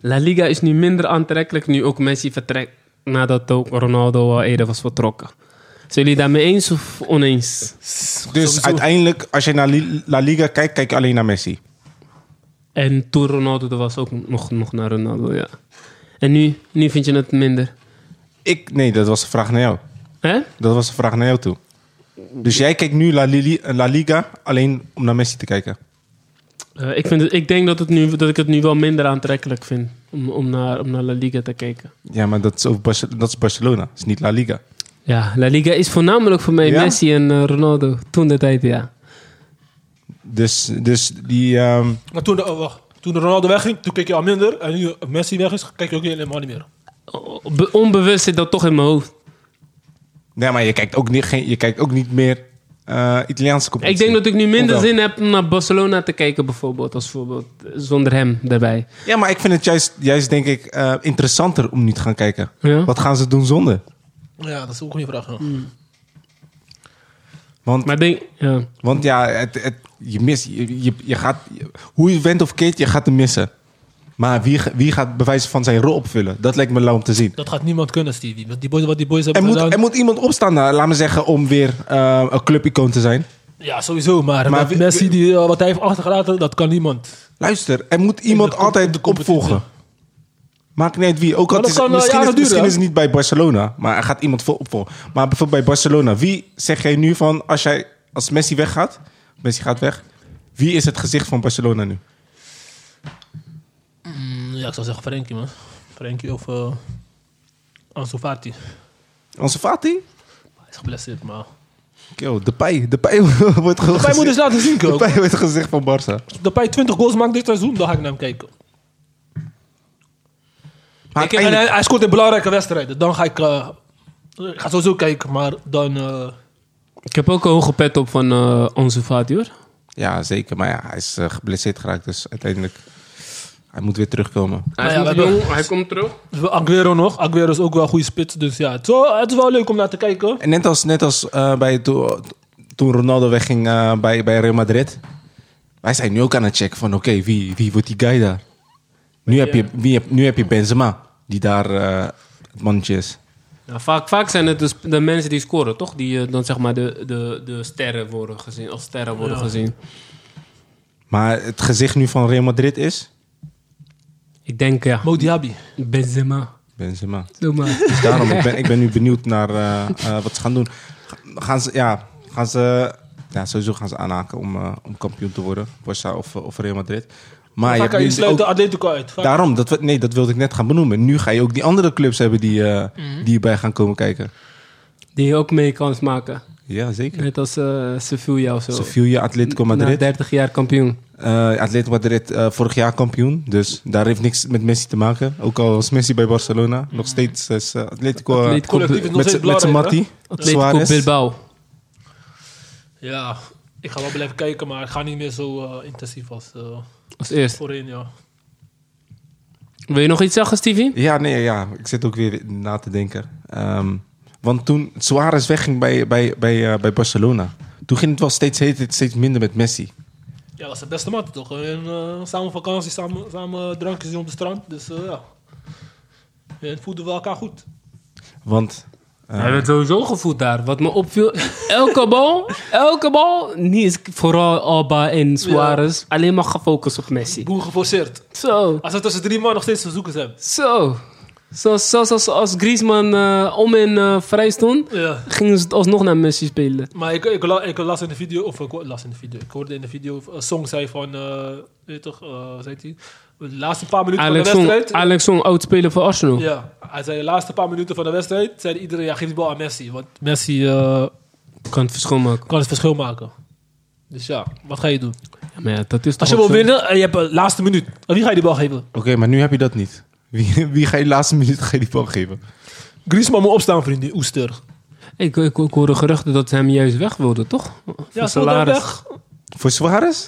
La Liga is nu minder aantrekkelijk nu ook Messi vertrekt. Nadat ook Ronaldo al eerder was vertrokken. Zijn jullie daarmee eens of oneens? Dus uiteindelijk, als je naar Li- La Liga kijkt, kijk je alleen naar Messi. En toen Ronaldo er was ook nog, nog naar Ronaldo, ja. En nu, nu vind je het minder. Ik, nee, dat was de vraag naar jou. Hè? Dat was de vraag naar jou toe. Dus jij kijkt nu La, Lili- La Liga alleen om naar Messi te kijken. Eh, ik, vind het- ik denk dat, het nu, dat ik het nu wel minder aantrekkelijk vind om, om, naar, om naar La Liga te kijken. Ja, maar dat is, over Barce- dat is Barcelona, dat is niet La Liga. Ja, La Liga is voornamelijk voor mij Ja? Messi en eh, Ronaldo. Toen de tijd, ja. Dus, dus die. ehm, Maar toen, oh, wacht. toen Ronaldo wegging, toen keek je al minder. En nu Messi weg is, kijk je ook helemaal niet meer. O- be- onbewust zit dat toch in mijn hoofd. nee, maar je kijkt ook niet, geen, je kijkt ook niet meer eh, Italiaanse Ik competitie. denk dat ik nu minder Hoewel. zin heb om naar Barcelona te kijken, bijvoorbeeld. Als voorbeeld, eh, zonder hem daarbij. Ja, maar ik vind het juist, juist denk ik, eh, interessanter om niet te gaan kijken. Ja? Wat gaan ze doen zonder? Ja, dat is ook een goede vraag. Ja. Want Maar denk, ja. Want ja, het, het, je mist. Je, je, je gaat, je- hoe je went of keert, je gaat hem missen. Maar wie, ga- wie gaat bewijzen van zijn rol opvullen? Dat lijkt me lauw om te zien. Dat gaat niemand kunnen, Stevie. Want die boys, wat die boys Er hebben moet, gedaan... er moet iemand opstaan, nou, laat me zeggen, om weer eh, een clubicoon te zijn. Ja, sowieso. Maar, Maar wat wie- Messi, die, eh, wat hij heeft achtergelaten, dat kan niemand. Luister, er moet iemand de com- altijd in de competitie. opvolgen. Maakt niet uit wie. Ook Maar al dat is, kan, eh, misschien, is, jaren misschien duren. is het niet bij Barcelona, maar er gaat iemand voor op voor. Maar bijvoorbeeld bij Barcelona, wie zeg jij nu van als, jij, als Messi weggaat? Messi gaat weg. Wie is het gezicht van Barcelona nu? Mm, Ja, ik zou zeggen Frenkie, man. Frenkie of eh Ansu Fati. Onze Fati? Hij is geblesseerd, maar... Yo, Depay. Depay wordt Depay gewoon moet eens gezicht- laten zien, Ko. Depay wordt het gezicht van Barça. Depay 20 goals maakt dit seizoen, dan ga ik naar hem kijken. Maar Ik- en hij, hij scoort in belangrijke wedstrijden. Dan ga ik... eh, ik ga sowieso kijken, maar dan... eh, Ik heb ook een hoge pet op van eh onze Fati, hoor. Ja, zeker. Maar ja, hij is eh, geblesseerd geraakt. Dus uiteindelijk, hij moet weer terugkomen. Hij, ja, is nog we hebben- jong, hij komt terug. Aguero nog. Aguero is ook wel een goede spits. Dus ja, het is wel, het is wel leuk om naar te kijken. En net als, net als eh, bij to- toen Ronaldo wegging eh, bij, bij Real Madrid. Wij zijn nu ook aan het checken van oké, wie, wie wordt die guy daar? Nu heb je, wie heb, nu heb je Benzema, die daar eh, het mannetje is. Ja, vaak, vaak zijn het dus de mensen die scoren, toch? Die eh, dan zeg maar de, de, de sterren worden gezien. Als sterren worden gezien. Maar het gezicht nu van Real Madrid is Ik denk, ja, Mo Diaby. Benzema. Benzema. Doe maar. Dus daarom, ik ben, ik ben nu benieuwd naar eh, eh, wat ze gaan doen. Gaan ze, ja, gaan ze, ja, sowieso gaan ze aanhaken om, eh, om kampioen te worden. Barca of, eh, of Real Madrid. Maar je Vaak hebt ga je nu ook- sluiten Atletico uit. Vaak- daarom, dat, we- nee, dat wilde ik net gaan benoemen. Nu ga je ook die andere clubs hebben die, eh Mhm. die erbij gaan komen kijken. Die ook mee kans maken. Ja, zeker. Net als eh Sevilla of zo. Sevilla, Atletico Na Madrid. 30 jaar kampioen. Eh, Atletico Madrid eh, vorig jaar kampioen. Dus daar heeft niks met Messi te maken. Ook al was Messi bij Barcelona. Nog steeds is eh, Atletico, eh, Atletico Collectief Mhm. is nog met z'n- steeds met zijn belangrijk, Mattie. Atletico Bilbao. Ja, ik ga wel blijven kijken, maar ik ga niet meer zo eh, intensief als eh, Als eerst. voorheen, ja. Wil je nog iets zeggen, Stevie? Ja, nee, ja. Ik zit ook weer na te denken. Ehm, want toen Suarez wegging bij, bij, bij, eh, bij Barcelona... toen ging het wel steeds, heet het steeds minder met Messi. Ja, dat is de beste man toch? En, eh, samen vakantie, samen, samen eh, drankjes op het strand. Dus eh, ja. En voeden we elkaar goed. Want Hij werd sowieso gevoed daar. Wat me opviel, elke bal, elke bal, niet vooral Alba en Suarez, alleen maar gefocust op Messi. Boer geforceerd. Zo, Als we tussen drie man nog steeds verzoekers hebben. zo. Zoals zo, zo, zo- als Griezmann eh, om en eh, vrij stond, Ja. gingen ze het alsnog naar Messi spelen. Maar ik, ik, la- ik las in de video, of ik ho- las in de video, ik hoorde in de video, eh, Song zei van, eh weet je toch, eh, wat zei hij? De laatste paar minuten Alex van de Song, wedstrijd. Alex Song, oud speler voor Arsenal. Ja, hij zei de laatste paar minuten van de wedstrijd, zei iedereen, ja, geef die bal aan Messi. Want Messi eh, Kan het verschil maken. kan het verschil maken. Dus ja, wat ga je doen? Ja, maar ja, dat is toch Als je ook wil zo. winnen en je hebt de laatste minuut, aan wie ga je die bal geven? Oké, maar nu heb je dat niet. Wie, wie ga je de laatste minuut ga je die bal geven? Griezmann moet opstaan, vriend, die oester. Ik, ik, ik hoorde geruchten dat ze hem juist weg wilden, toch? Voor Ja, ze wilden hem salaris. weg Voor Suarez?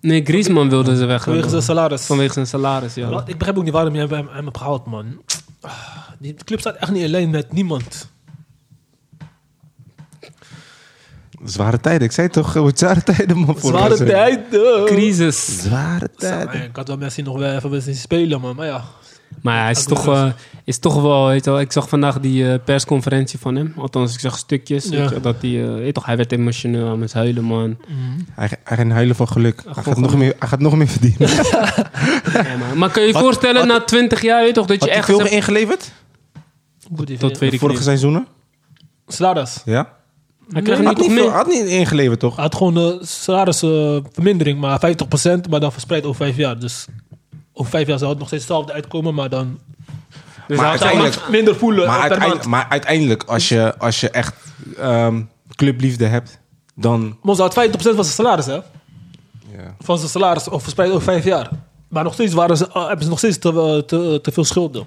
Nee, Griezmann wilden ze weg. vanwege zijn salaris. Vanwege zijn salaris, ja. Wat? Ik begrijp ook niet waarom je hem, hem, hem hebt gehaald, man. Ah, Die club staat echt niet alleen met niemand. Zware tijden. Ik zei het toch, eh, wordt zware tijden man. voor Zware Barcelona. tijden. Ah, Crisis. Zware Ja, tijden. maar Ik had wel Messi nog wel even willen zien spelen, man. Maar ja, Maar hij is Ook nog toch, eh, is toch wel, weet je wel, ik zag vandaag die eh, persconferentie van hem. Althans, ik zag stukjes. Ja. weet je wel, dat die, eh, weet je toch, hij werd emotioneel aan het huilen, man. Hij, hij ging huilen van geluk. Hij gaat, geluk. nog meer, hij gaat nog meer verdienen. Ja, maar, maar kun je je Wat- voorstellen, wat- na 20 jaar, weet je toch, dat je Had hij echt... veel zegt- ingeleverd? goed idee. dat weet ik Vorige niet. seizoenen? Salaris. Ja. Hij kreeg nu Had toch niet, veel, meer. Ah, had niet ingeleverd toch? Hij had gewoon een salarisvermindering, maar 50%, maar dan verspreid over vijf jaar. Dus over vijf jaar zou het nog steeds hetzelfde uitkomen, maar dan Dus Maar hij had zou uiteindelijk- het minder voelen Maar, per uiteindelijk, maand. maar uiteindelijk, als je, als je echt ehm, clubliefde hebt, dan... Mons had 50% van zijn salaris, hè? Ja. Van zijn salaris, of verspreid over vijf jaar. Maar nog steeds waren ze, eh, hebben ze nog steeds te, eh, te, te veel schulden.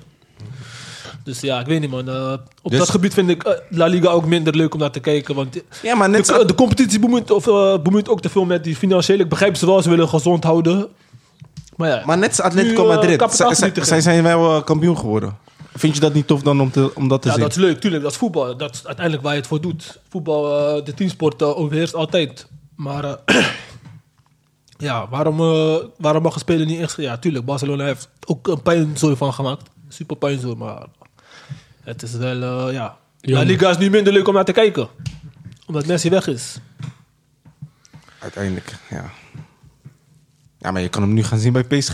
Dus ja, ik weet niet, man. Eh, op Dus- dat gebied vind ik eh, La Liga ook minder leuk om naar te kijken, want... ja, maar net De, zo... de competitie bemoeit, of, eh, bemoeit ook te veel met die financiële. Ik begrijp ze wel, ze willen gezond houden. Maar ja, Maar net als Atletico Nu, eh, Madrid. Zij, zij, kapitaalvernietiging. zij zijn wel eh, kampioen geworden. Vind je dat niet tof dan om, te, om dat te ja zien? dat is leuk, tuurlijk. Dat is voetbal. Dat is uiteindelijk waar je het voor doet. Voetbal, eh, de teamsport eh, overheerst altijd. Maar eh, ja, waarom, eh, waarom mag een speler niet echt... Ja, tuurlijk, Barcelona heeft ook een pijnzooi van gemaakt. Super pijnzooi, maar het is wel... eh, ja, La Liga is nu minder leuk om naar te kijken. Omdat Messi weg is. Uiteindelijk, ja. Ja, maar je kan hem nu gaan zien bij PSG.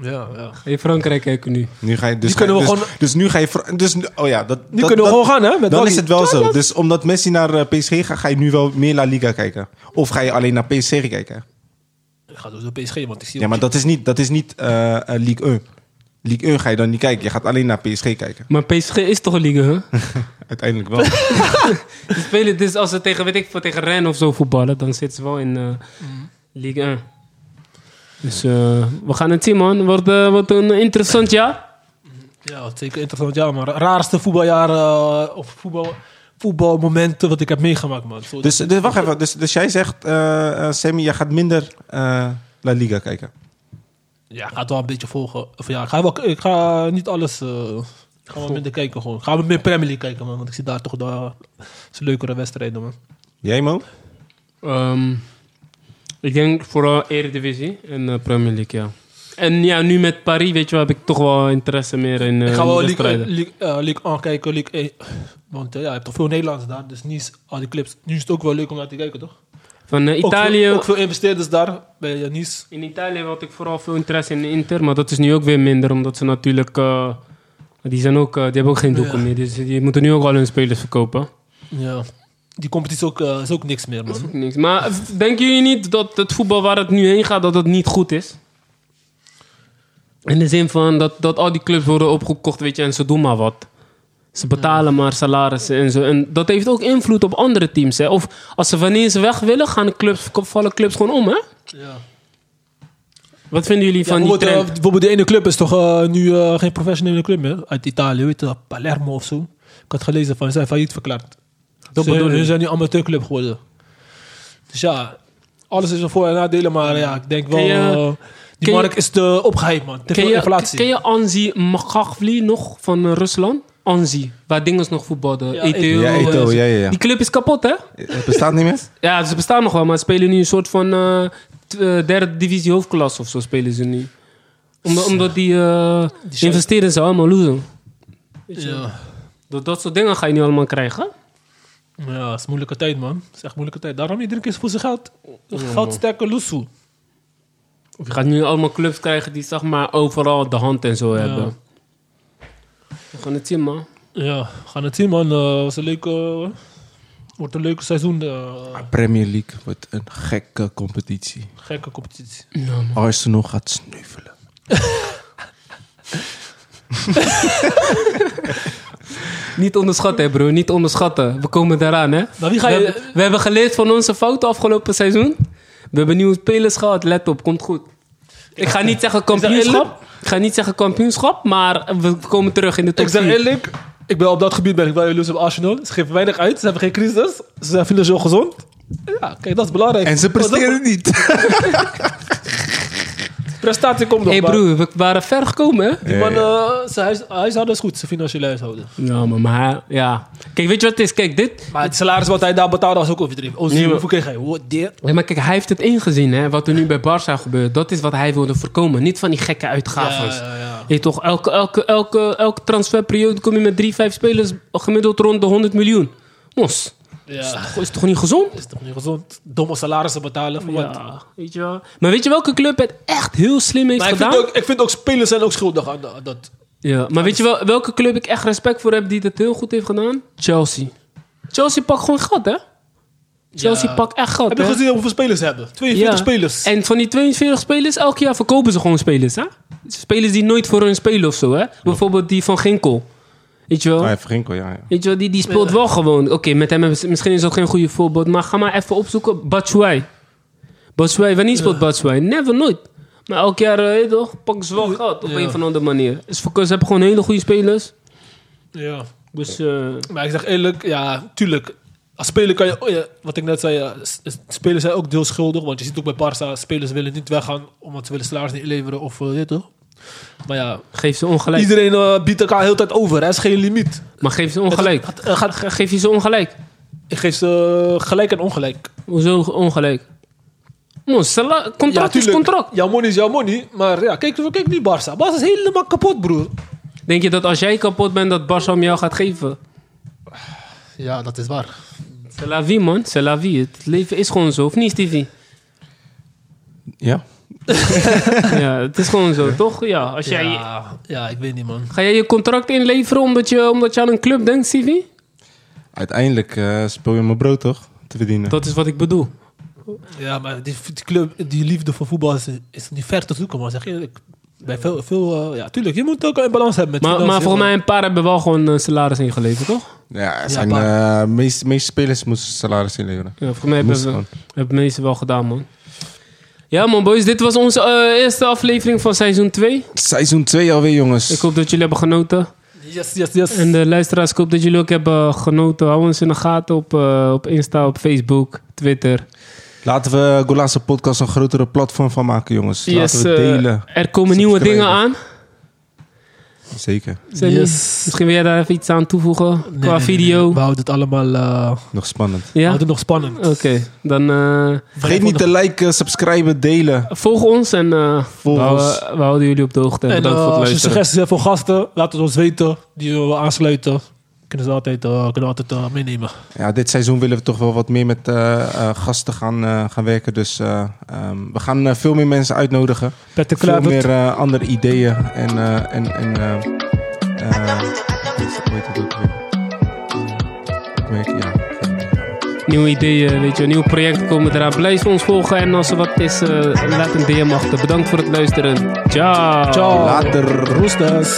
Ja, ja. In Frankrijk kijken nu. Nu ga je dus, Die kunnen we dus, gewoon- dus nu ga je. Fra- Dus, nu- oh ja, dat, Nu dat- kunnen we dat- gewoon gaan, hè? Met Dan Waggy. is het wel zo. Dus omdat Messi naar eh, PSG gaat, ga je nu wel meer La Liga kijken. Of ga je alleen naar PSG kijken? Ik ga door de PSG, want ik zie Ja, maar dat is niet, dat is niet eh, eh, Ligue 1. Ligue 1 ga je dan niet kijken. Je gaat alleen naar PSG kijken. Maar PSG is toch een liga, hè? Uiteindelijk wel. Ze spelen dus als ze tegen, weet ik veel, tegen Rennes of zo voetballen, dan zitten ze wel in eh Mhm. Ligue 1. Dus eh, we gaan het zien, man. Wordt, eh, wordt een interessant jaar. Ja, zeker interessant. Ja, maar raarste voetbaljaar eh, of voetbal, voetbalmomenten wat ik heb meegemaakt, man. Zo, dus, dus wacht even. Dus, dus jij zegt, eh, eh, Sammy, jij gaat minder eh, La Liga kijken. ja, ik ga het wel een beetje volgen. Of ja, ik ga, wel, ik ga niet alles... eh, ik ga wel minder kijken gewoon. Ik ga meer Premier League kijken, man. Want ik zie daar toch de, de leukere wedstrijden, man. Jij, Mo? Ehm, ik denk vooral Eredivisie en eh, Premier League, ja. En ja, nu met Paris, weet je wel, heb ik toch wel interesse meer in eh Ik ga wel die League, wedstrijden. eh, League, eh, League 1 kijken, League 1. Want eh, ja, je hebt toch veel Nederlanders daar. Dus niet al die clips. Nu is het ook wel leuk om naar te kijken, toch? Van eh, Ook veel- Italië... Ook veel, investeerders daar bij eh, Nice. In Italië had ik vooral veel interesse in Inter, maar dat is nu ook weer minder, omdat ze natuurlijk. eh, die, zijn ook, eh, die hebben ook geen doeken Ja. meer, dus die moeten nu ook al hun spelers verkopen. Ja. Die competitie is ook, eh, is ook niks meer, man. Niks. Maar v- denken jullie niet dat het voetbal waar het nu heen gaat, dat het niet goed is? In de zin van dat, dat al die clubs worden opgekocht, weet je, en ze doen maar wat. Ze betalen maar salarissen en zo. En dat heeft ook invloed op andere teams. Hè? Of als ze wanneer ze weg willen, gaan de clubs, vallen clubs gewoon om, hè? Ja. Wat vinden jullie van die bijvoorbeeld, eh, trend? bijvoorbeeld die ene club is toch eh, nu eh, geen professionele club meer. Uit Italië, weet je, dat, Palermo of zo. Ik had gelezen van, ze zijn failliet verklaard. Dat ze, bedoel ze ik. zijn nu amateurclub geworden. Dus ja, alles is een voor- en nadelen. Maar ja, ik denk wel... Ken je- eh, die ken je- markt is te opgeheven, man. Te Ken veel je, inflatie. ken je Anzi Magagvli nog van eh, Rusland? Anzi, waar dinges nog voetbalden. Ja, ETO. Eto. Ja, eh, Eto, ja, ja, ja. Die club is kapot, hè? Het bestaat niet meer? Ja, ze bestaan nog wel, maar ze spelen nu een soort van eh, t- eh, derde divisie hoofdklasse of zo spelen ze nu. Omdat, omdat die, eh zijn- investeren ze allemaal loezen. ja. Door dat soort dingen ga je nu allemaal krijgen. Ja, het is moeilijke tijd, man. Het is echt moeilijke tijd. Daarom iedereen kiest voor zijn geld. Geld sterker loesoe. Of je gaat nu allemaal clubs krijgen die zeg maar overal de hand en zo hebben. We gaan het zien, man. Ja, we gaan het zien, man. Eh, was een leuke, wordt een leuke seizoen. eh, Premier League wordt een gekke competitie. gekke competitie. Arsenal gaat sneuvelen. Niet onderschatten, hè, bro. Niet onderschatten. We komen daaraan, hè. Maar wie ga je- we, hebben, we hebben geleerd van onze fouten afgelopen seizoen. We hebben nieuwe spelers gehad. Let op, komt goed. Ik ga niet zeggen kampioenschap. Ik ga niet zeggen kampioenschap, maar we komen terug in de top Ik zeg 4. eerlijk, ik ben op dat gebied ben ik wel jaloers op Arsenal. Ze geven weinig uit, ze hebben geen crisis. Ze zijn financieel gezond. Ja, kijk, dat is belangrijk. En ze Want dat- presteren niet. Prestatie komt nog, hey, maar broer, we waren ver gekomen, hè. Die man, eh, zijn huis, huishouden is goed, zijn financiële huishouden. Ja, maar, maar ja. Kijk, weet je wat het is? Kijk, dit... Maar het salaris wat hij daar betaalde was ook overdreven. Oh, maar- hoeveel kreeg hij? What, dear? Ja, maar kijk, hij heeft het ingezien, hè. Wat er nu bij Barça gebeurt. Dat is wat hij wilde voorkomen. Niet van die gekke uitgaven. Ja, ja, ja. Je toch, elke, elke, elke, elke transferperiode kom je met drie, vijf spelers gemiddeld rond de 100 miljoen. Mos, ja. goh, is toch niet gezond? is toch niet gezond? Domme salarissen betalen voor wat? Ja, weet je wel. Maar weet je welke club het echt heel slim heeft Maar ik gedaan? vind, ook, ik vind ook spelers zijn ook schuldig aan dat- dat. Ja, maar weet je wel, welke club ik echt respect voor heb die dat heel goed heeft gedaan? Chelsea. Chelsea pakt gewoon geld, hè? Chelsea Ja. pakt echt geld, Heb je hè? gezien hoeveel spelers ze hebben? 42 spelers. En van die 42 spelers, elk jaar verkopen ze gewoon spelers, hè? Spelers die nooit voor hun spelen of zo, hè? Bijvoorbeeld die van Ginkel. Weet je wel? Oh, ja, Frenkel, ja. ja. Weet je wel, die, die speelt wel gewoon. Oké, met hem hebben ze- misschien is dat geen goede voorbeeld. Maar ga maar even opzoeken. Batshuayi. Batshuayi, wanneer speelt Batshuayi? Never, nooit. Maar elk jaar, eh, weet je toch, pakken ze wel geld op Ja. een of andere manier. Dus voor ze hebben gewoon hele goede spelers. Ja. Dus eh, Maar ik zeg eerlijk, ja, tuurlijk. Als speler kan je, oh ja, wat ik net zei, ja, s- s- spelers zijn ook deels schuldig. Want je ziet ook bij Barça, spelers willen niet weggaan omdat ze willen salaris niet leveren of eh, dit toch. Maar ja, geef ze ongelijk. iedereen eh, biedt elkaar heel tijd over. Er is geen limiet. Maar geef ze ongelijk. Het- het- het gaat- Ge- Geef je ze ongelijk. Ik geef ze eh, gelijk en ongelijk. Hoezo ongelijk? Mons, sala- contract is tuurlijk, contract. Jouw money is jouw money. Maar ja, kijk, kijk nu Barça. Barça is helemaal kapot, broer. Denk je dat als jij kapot bent, dat Barça om jou gaat geven? Ja, dat is waar. C'est la vie, man. C'est la vie. Het leven is gewoon zo. Of niet, Stevie? Ja. ja, het is gewoon zo, toch? Ja, als jij... Ja, ja, ik weet niet, man. Ga jij je contract inleveren omdat je, omdat je aan een club denkt, Sivi? Uiteindelijk eh, speel je mijn brood toch? Te verdienen. Dat is wat ik bedoel. Ja, maar die, die club, die liefde voor voetbal is, is niet ver te zoeken, man. Zeg je eerlijk. Bij veel, veel eh, ja, tuurlijk. Je moet ook een balans hebben met Maar, financiën, maar volgens mij een paar hebben wel gewoon eh, salaris ingeleverd, toch? Ja, er Ja, zijn, maar- eh, meeste, meeste spelers moesten salaris inleveren. Ja, volgens mij hebben, Moest we, gewoon. hebben de meesten wel gedaan, man. Ja, man, boys. Dit was onze eh, eerste aflevering van seizoen 2. Seizoen 2 alweer, jongens. Ik hoop dat jullie hebben genoten. Yes, yes, yes. En de luisteraars, ik hoop dat jullie ook hebben genoten. Hou ons in de gaten op, eh, op Insta, op Facebook, Twitter. Laten we Golaanse Podcast een grotere platform van maken, jongens. Laten we Yes, eh, delen. Er komen nieuwe Subscriben. dingen aan. Zeker. Sammy, Yes. Misschien wil jij daar even iets aan toevoegen Nee, qua nee, nee, video. nee. We houden het allemaal eh, Nog spannend. we Ja? houden het nog spannend. Oké, dan eh, Vergeet niet te liken, subscriben, delen. volg ons en eh, Volg we, houden, ons. we houden jullie op de hoogte. En, En bedankt eh, voor het als je luisteren. suggesties hebt voor gasten, laat het ons weten. Die we willen aansluiten. Kunnen ze altijd, eh, kunnen we altijd eh, meenemen. Ja, dit seizoen willen we toch wel wat meer met eh, eh, gasten gaan, eh, gaan werken. Dus eh, ehm, we gaan eh, veel meer mensen uitnodigen. Patrick Veel Kluivert. meer eh, andere ideeën. En, eh, en, en eh, eh, hoe heet het ook weer? Ik merk, ja. Nieuwe ideeën, weet je, nieuwe projecten komen eraan. Blijf ons volgen en als er wat is, eh, laat een DM achter. Bedankt voor het luisteren. Ciao. Ciao. eh, Later. Roesters.